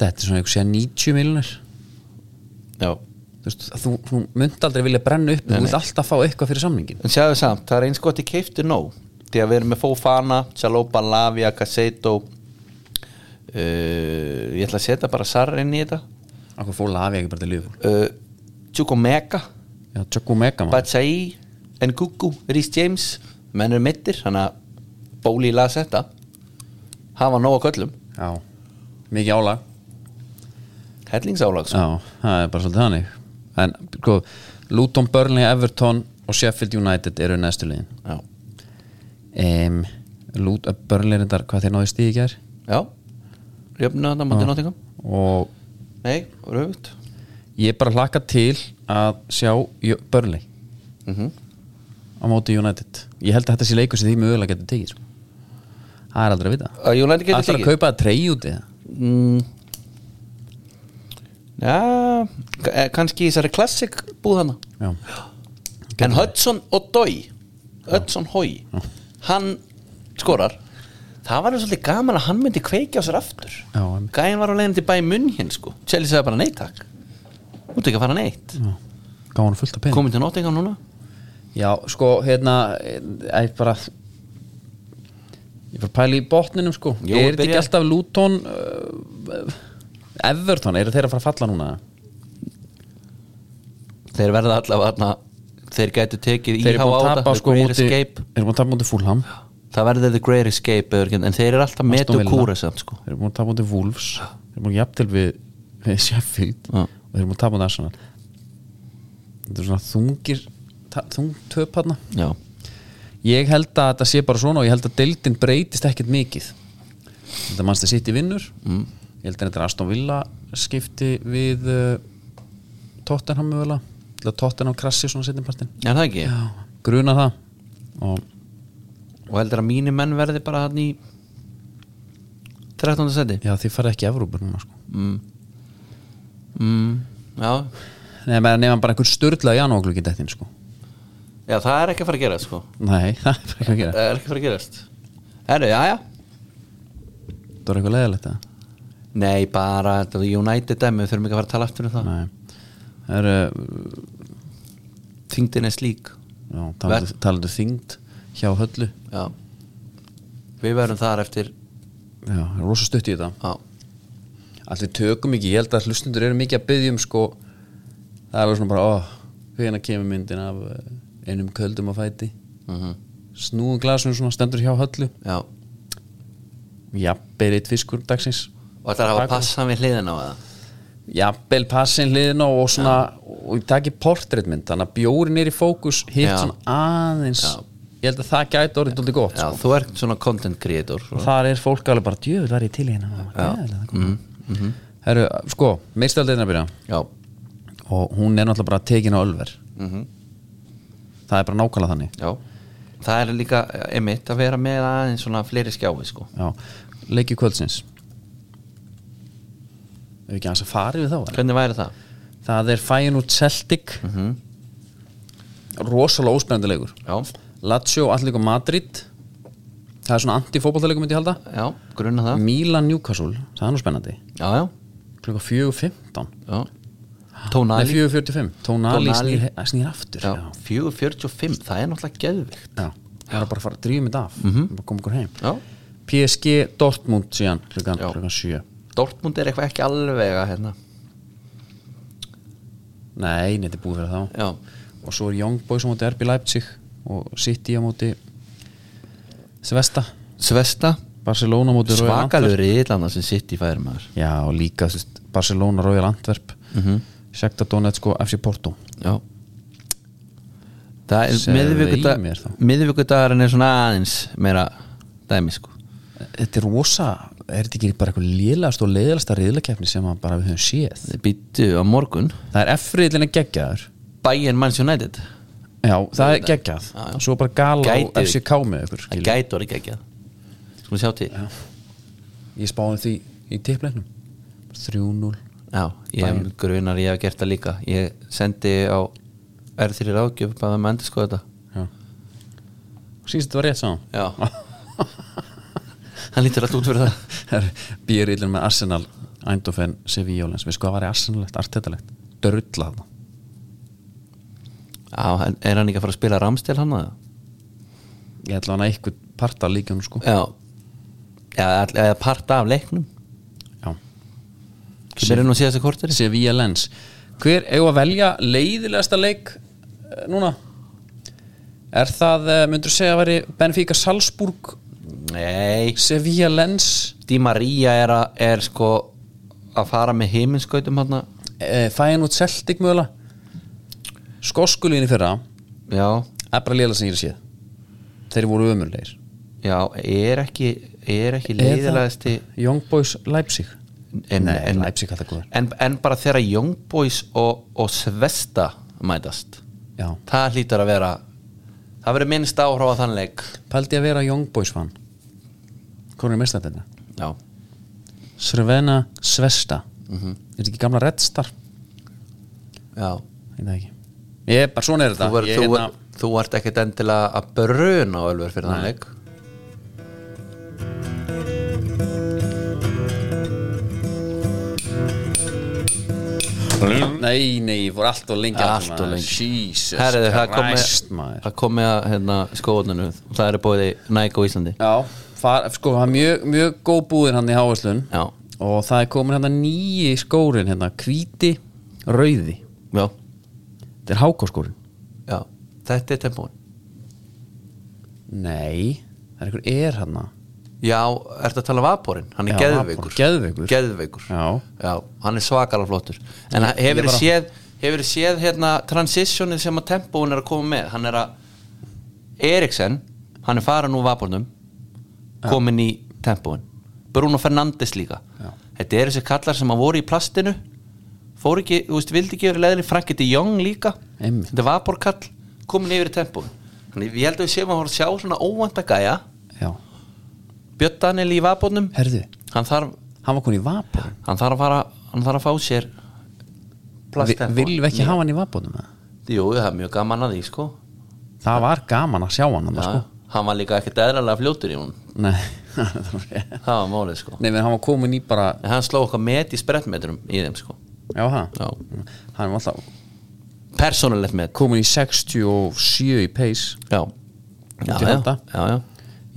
A: þetta er svona einhver sér 90 miljonir
B: Já.
A: þú, veist, þú, þú myndi aldrei vilja brenna upp þú vilt alltaf fá eitthvað fyrir samningin
B: en sjáðu samt, það er eins gott í keifti nóg því að við erum með Fofana, Chalopa, Lavia Cassetto uh, ég ætla að setja bara Sarri inn í þetta
A: Akkur fór lafi ekki bara til liðfól
B: uh, Tjúko Mega
A: Já, Tjökku Megaman
B: Batsai, Ngugu, Rhys James menn eru mittir, þannig að bóli í lasetta hafa nóg að köllum,
A: Já, mikið álag
B: hellingsálag sko.
A: Já, það er bara svolítið þannig En sko, Luton, Burnley, Everton og Sheffield United eru næstu liðin
B: já.
A: um, Lut, Burnley reyndar hvað þeir náðu stíði gær
B: já jöfna þetta mátti náttingum
A: og
B: nei, röfut
A: ég bara hlakka til að sjá Jö- Burnley
B: Mhm.
A: á móti United Ég held að þetta sé leikur sem því mögulega getur tekið sko. Það er aldrei að vita
B: að Jólandi getur
A: Ætlar að
B: tekið
A: kaupa að treyja út í það
B: mm. já, ka- eh, kannski í þessari klassik búð hana
A: Já,
B: en Hudson Odoi Hudson Hoi hann skorar það var alveg svolítið gaman að hann myndi kveikja á sér aftur
A: Já, einmitt.
B: gæin var á leiðin til bæ munn hinn sko Chelsea sagði bara nei takk þú ert ekki að fara neitt
A: já. Gá hann fullt að penna
B: komið til Nottingham núna
A: Já, sko, hérna ég bara ég bara pæli í botninum sko
B: Jó,
A: er þetta ekki
B: byrja-
A: alltaf Luton uh, Everton, eru þeir að fara að falla núna
B: þeir verða allavega þarna þeir gætu tekið
A: þeir eru
B: IH
A: búin að
B: á
A: tapa
B: þetta
A: sko
B: The Great
A: múti,
B: Escape
A: þeir eru búin að tapa múti Fulham
B: það verður The Great Escape öðru- en þeir eru alltaf
A: Aston
B: metu
A: Villa.
B: kúra samt sko
A: þeir eru búin að tapa múti Wolves þeir eru búin að jafntil við, við Sheffield
B: Já.
A: og þeir eru búin að tapa múti Arsenal þetta er svona þungir ta- þung töp hana
B: já
A: ég held að þetta sé bara svona og ég held að deildin breytist ekkert mikið þetta mannst að sitt í vinnur mm. ég held að þetta er Aston Villa skipti við uh, Tottenham mögulega Ég held að Tottenham krassi svona setjumpartin
B: er það ekki
A: gruna það og
B: og heldur að mínir menn verði bara hann í 13. seti
A: já þið farið ekki Evrópu núna sko
B: mm, já
A: nema, nema bara einhvern sturla janúargluggi dettin sko
B: Já, það er ekki að fara að gera sko
A: nei, það er bara ekki að gera
B: Það er ekki að fara að gerast Herru, já, já
A: það er eitthvað leiðilegt að
B: Nei, bara, þetta er United dæmi Við þurfum ekki að fara að tala aftur um það
A: nei, það eh, eru
B: Þingdin er slík
A: já, talandu, talandu þyngd hjá höllu
B: Já Við verðum þar eftir
A: já, það er rosa stutt í þetta
B: Já,
A: allt við tökum ekki, ég held að hlustundur eru mikið að byggja um sko það er alveg svona bara, ó, hvena kemur myndin af eh, einum köldum á fæti
B: mm
A: snúum glasunum svona, stendur hjá höllu
B: já.
A: jafnvel eitt fiskur dagsins
B: Og þetta er að hafa passan við hliðina á það
A: jafnvel passin hliðin og og svona, og ég taki portréttmynd þannig að bjórin er í fókus hitt
B: Já.
A: svona aðeins
B: Já.
A: ég held að það gæti orðið dóldi gott
B: Já,
A: sko.
B: þú ert svona content creator sko.
A: og þar er fólk alveg bara, djöfull var ég til í hérna mm
B: Mhm,
A: -hmm. herru, sko, meistaldeitin að byrja
B: Já,
A: og hún er náttúrulega bara tekin á ölver
B: Mhm.
A: það er bara nákvæmlega þannig
B: já Það er líka emitt að vera með aðeins svona fleiri skjái sko
A: Já. leikju kvöldsins ef ekki aðeins að fara við þá eða?
B: Hvernig væri það?
A: það er fæin út Celtic
B: Mhm.
A: rosalega óspennandi leikur
B: Já,
A: Lazio, Atletico Madrid það er svona anti-fótballtaleikum myndi ég halda
B: já, grunna það
A: Milan, Newcastle, það er nú spennandi
B: Já, já,
A: klukka 4.15
B: já
A: Nei,
B: Tónali
A: 4.45, Tónali
B: Tonali.
A: snýr, snýr aftur
B: Já,
A: já.
B: 4.45, það er náttúrulega geðvikt
A: Já. það er bara að fara að drífa mitt af mm
B: Mhm.
A: -hmm. koma ykkur heim
B: Já,
A: PSG, Dortmund síðan klukkan,
B: Já.
A: klukkan 7
B: Dortmund er eitthvað ekki alveg að hérna
A: nei, nei, þetta er búið fyrir þá
B: Já,
A: og svo er Young Boys á móti RB Leipzig og City á móti Svesta
B: Svesta,
A: Barcelona á móti Royal Antwerp.
B: svakalur í Ítlanda sem sitt í færum maður
A: Já, og líka þú veist, Barcelona, Royal Antwerp mm -hmm. Sjekta Donetsk og FC Porto
B: Já Það
A: Segðu
B: er
A: í mér þá.
B: miðvíkudagarinn er svona aðeins meira dæmi sko
A: Þetta er rosa, er þetta ekki bara eitthvað lélast og leiðalasta riðlakefni sem að bara við höfum séð
B: Býttu á morgun
A: Það er F-riðlinni geggjaður
B: Bayern Man's United
A: Já, það er geggjað
B: Já, já.
A: Svo bara gala
B: Gæti-
A: á FCK með ykkur
B: Það
A: skilur.
B: gæti orðið geggjað Skulum sjá til Já,
A: Ég spáði því í tippleiknum 3-0
B: ég grunar ég hef gert það líka Ég sendi á R3 ráðgjöf bara með endur sko þetta
A: Sýnst þetta var rétt saman
B: Já Hann lítur allt út fyrir það
A: býrillin með Arsenal Eindhoven, Sevillolens, við sko að væri Arsenalegt, artetalegt, dörrullað
B: Já, en er hann ekki að fara að spila Ramstel hann að það?
A: ég ætla hann að eitthvað parta líkjum sko
B: Já Já, all- eða part af leiknum
A: já,
B: sem er nú síðast að kortir
A: Sevillolens hver eigum að velja leiðilegasta leik eh, núna er það, eh, myndur segja að veri Benfica Salzburg,
B: Nei
A: Sevillolens
B: Di Maria er, a, er sko að fara með heiminskautum hann
A: fæin út eh, Celtic mögulega skoskulín í fyrra
B: Já,
A: er bara lélega sem ég er séð þeir voru ömurleir
B: já, er ekki er ekki leiðilegasti
A: Young Boys Leipzig
B: en,
A: Nei,
B: en,
A: Leipzig alltaf góður.
B: en, en bara þegar Young Boys og, og Svesta mætast
A: já
B: það hlýtur að vera það verður minnst áhrá á þann leik
A: Paldi að vera Young Boys fan Hvað er mest að þetta?
B: Já,
A: Srvena Svesta
B: Mhm.
A: Er þetta ekki gamla Red Star?
B: já
A: Ég veit það ekki Ég er bara svona er
B: Þú,
A: þetta
B: ver,
A: Ég
B: þú,
A: er
B: ver,
A: hérna-
B: þú ert ekkert endilega að bruna á Ölver fyrir þann leik
A: Nei, nei, ég fór allt og lengi
B: Mm. Allt
A: aftur,
B: of
A: maður.
B: lengi.
A: Jesus
B: Herriði, það
A: Christ,
B: komi,
A: maður
B: það komi að hérna, skóðunum og það er bóði Nike á Íslandi
A: Já, far, sko, það er mjög, mjög góð búðin hann í Háaslun
B: Já,
A: Og það er komin hérna nýji skórin hérna Hvíti, rauði
B: já,
A: Þetta er hákáskórin
B: já Þetta er tempón
A: Nei, það er einhver er hérna. hann
B: Já, ertu að tala um Vaporinn, hann er
A: Já,
B: geðveikur
A: Vaporinn, geðveikur.
B: Geðveikur.
A: Já.
B: hann er svakalega flottur En
A: Ég- ég
B: hefur bara...
A: bara-
B: séð, hefur séð hérna, transitionið sem að tempón er að koma með Hann er að Eriksen, hann er farin úr Vapornum komin í tempón Bruno Fernandes líka
A: Já.
B: Þetta eru þessi kallar sem að voru í plastinu fór ekki, þú veist, vildi ekki verið leðinni Frank Eddi Young líka
A: Einmitt.
B: Þetta Vaporkall komin yfir í tempón Þannig ég held að við séum að voru að sjá svona óvanda gæja
A: Já,
B: Björn Daniel í vapotnum
A: herðu
B: hann þarf,
A: Hann var konið í vapor
B: hann þarf að fara hann þarf að fá sér plasttelefon.
A: Viljum við ekki hafa hann í vabónum eða?
B: Jú, það er mjög gaman að því sko
A: Það var gaman að sjá hann annars,
B: Já, sko. Hann var líka ekkert eðralega fljótur í hún
A: sko Nei, það var rétt.
B: Það var málið sko
A: Nei, menn hann var komin í bara
B: En hann sló okkar met í sprettmetrum í þeim sko
A: Já, það
B: Já.
A: Hann var alltaf
B: Persónulegt met
A: komin í 67 í pace
B: Já Já,
A: Út í
B: já,
A: handa.
B: já, já.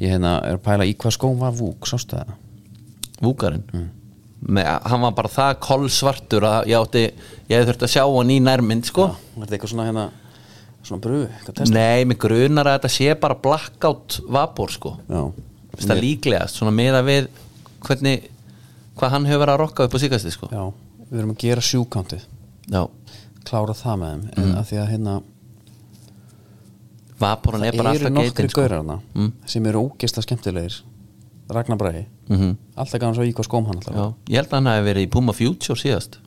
A: Ég hérna er að pæla í hvað skóm var vúk, sástu það
B: Vúkarinn Með, Hann var bara það kolsvartur að ég átti Ég hefði þurft að sjá hann í nærmynd sko
A: Var þetta eitthvað svona hérna Svona brú, eitthvað testa
B: Nei, mig grunar að þetta sé bara blackout vapor sko
A: Já,
B: Finnst Það líklegast, svona meða við hvernig, hvað hann hefur verið að rokka upp á síkasti sko
A: já, við erum að gera sjúkantið
B: Já,
A: Klára það með þeim En að því að hérna
B: vaporinn er bara
A: Eru
B: alltaf
A: nokkri
B: geitin sko
A: gaurar hana Sem eru ógeisla skemmtilegir Ragnar Bræði
B: mm
A: Alltaf gaf hann svo í hvað skóm hann alltaf
B: Já, ég held að hann hafi verið í Puma Future síðast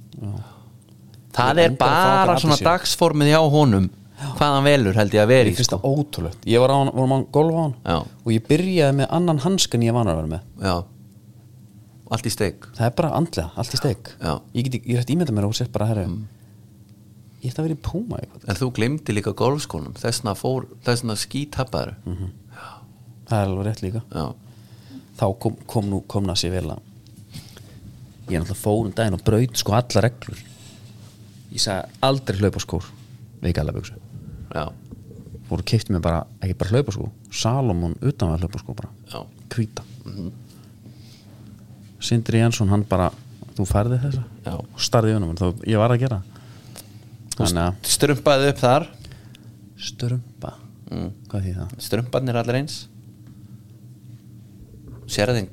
A: Ég
B: Það er
A: langar að fá
B: bara
A: okkur
B: svona
A: appelsínu.
B: dagsformið hjá honum hvað hann velur held ég að
A: Ég
B: veri
A: finnst það ótrúlegt Ég var á hann, vorum á golf á hann
B: Já.
A: Og ég byrjaði með annan hanskan ég var að vera með
B: Já, allt í steik
A: Það er bara andlega, allt í steg
B: Já. Mm.
A: Ég get, ég er eftir ímynda mér og sér bara herri Ég ætti að vera í Puma eitthvað
B: En þú glemdi líka golfskónum þessna, fór, þessna skítappaður mm
A: Mhm.
B: -hmm.
A: Það er alveg rétt líka
B: Já,
A: Þá kom, kom nú, kom það sér vel að Ég er náttúrulega fór um daginn og braut sko alla reglur Ég sagði aldrei hlaupa skór Við gæla buksu
B: já,
A: Fóru kipti mér bara, ekki bara hlaupa skó Salomon utan að hlaupa skó bara
B: já
A: Hvíta Sindri Jansson, hann bara Þú færði þessa
B: Já.
A: og starði unum Þá ég var að gera Þannig að
B: Strumpaði upp þar
A: Strumpa Mm. Hvað því það?
B: Strumparnir allir eins Sérðin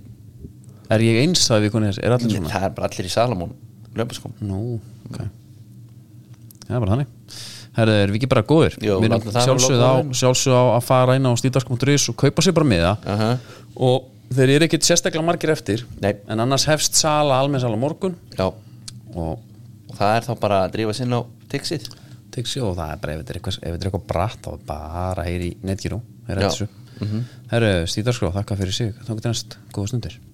A: Er ég eins það við konið þess? Er allir svona?
B: Það er bara allir í Salomon Löpaskóm
A: Nú, ok Það er bara þannig Herðu, erum við ekki bara góðir?
B: Jú,
A: við erum
B: látum það
A: sjálfsögð
B: vera
A: á,
B: lokaorðin.
A: sjálfsögð á að fara inn á stíðarsk.is og kaupa sér bara miða
B: Aha.
A: og þeir eru ekkit sérstaklega margir eftir
B: Nei.
A: en annars hefst sala almenn sala á morgun
B: Já, og
A: og
B: það er þá bara að drífa sinn á tixið
A: Tixi og það er bara ef þetta er eitthvað, ef þetta er eitthvað bratt þá er bara heyri í netgirú
B: Já.
A: sko, Herðu, mm -hmm. stíðarsk og þakka fyrir sig þá getur næst góða stundir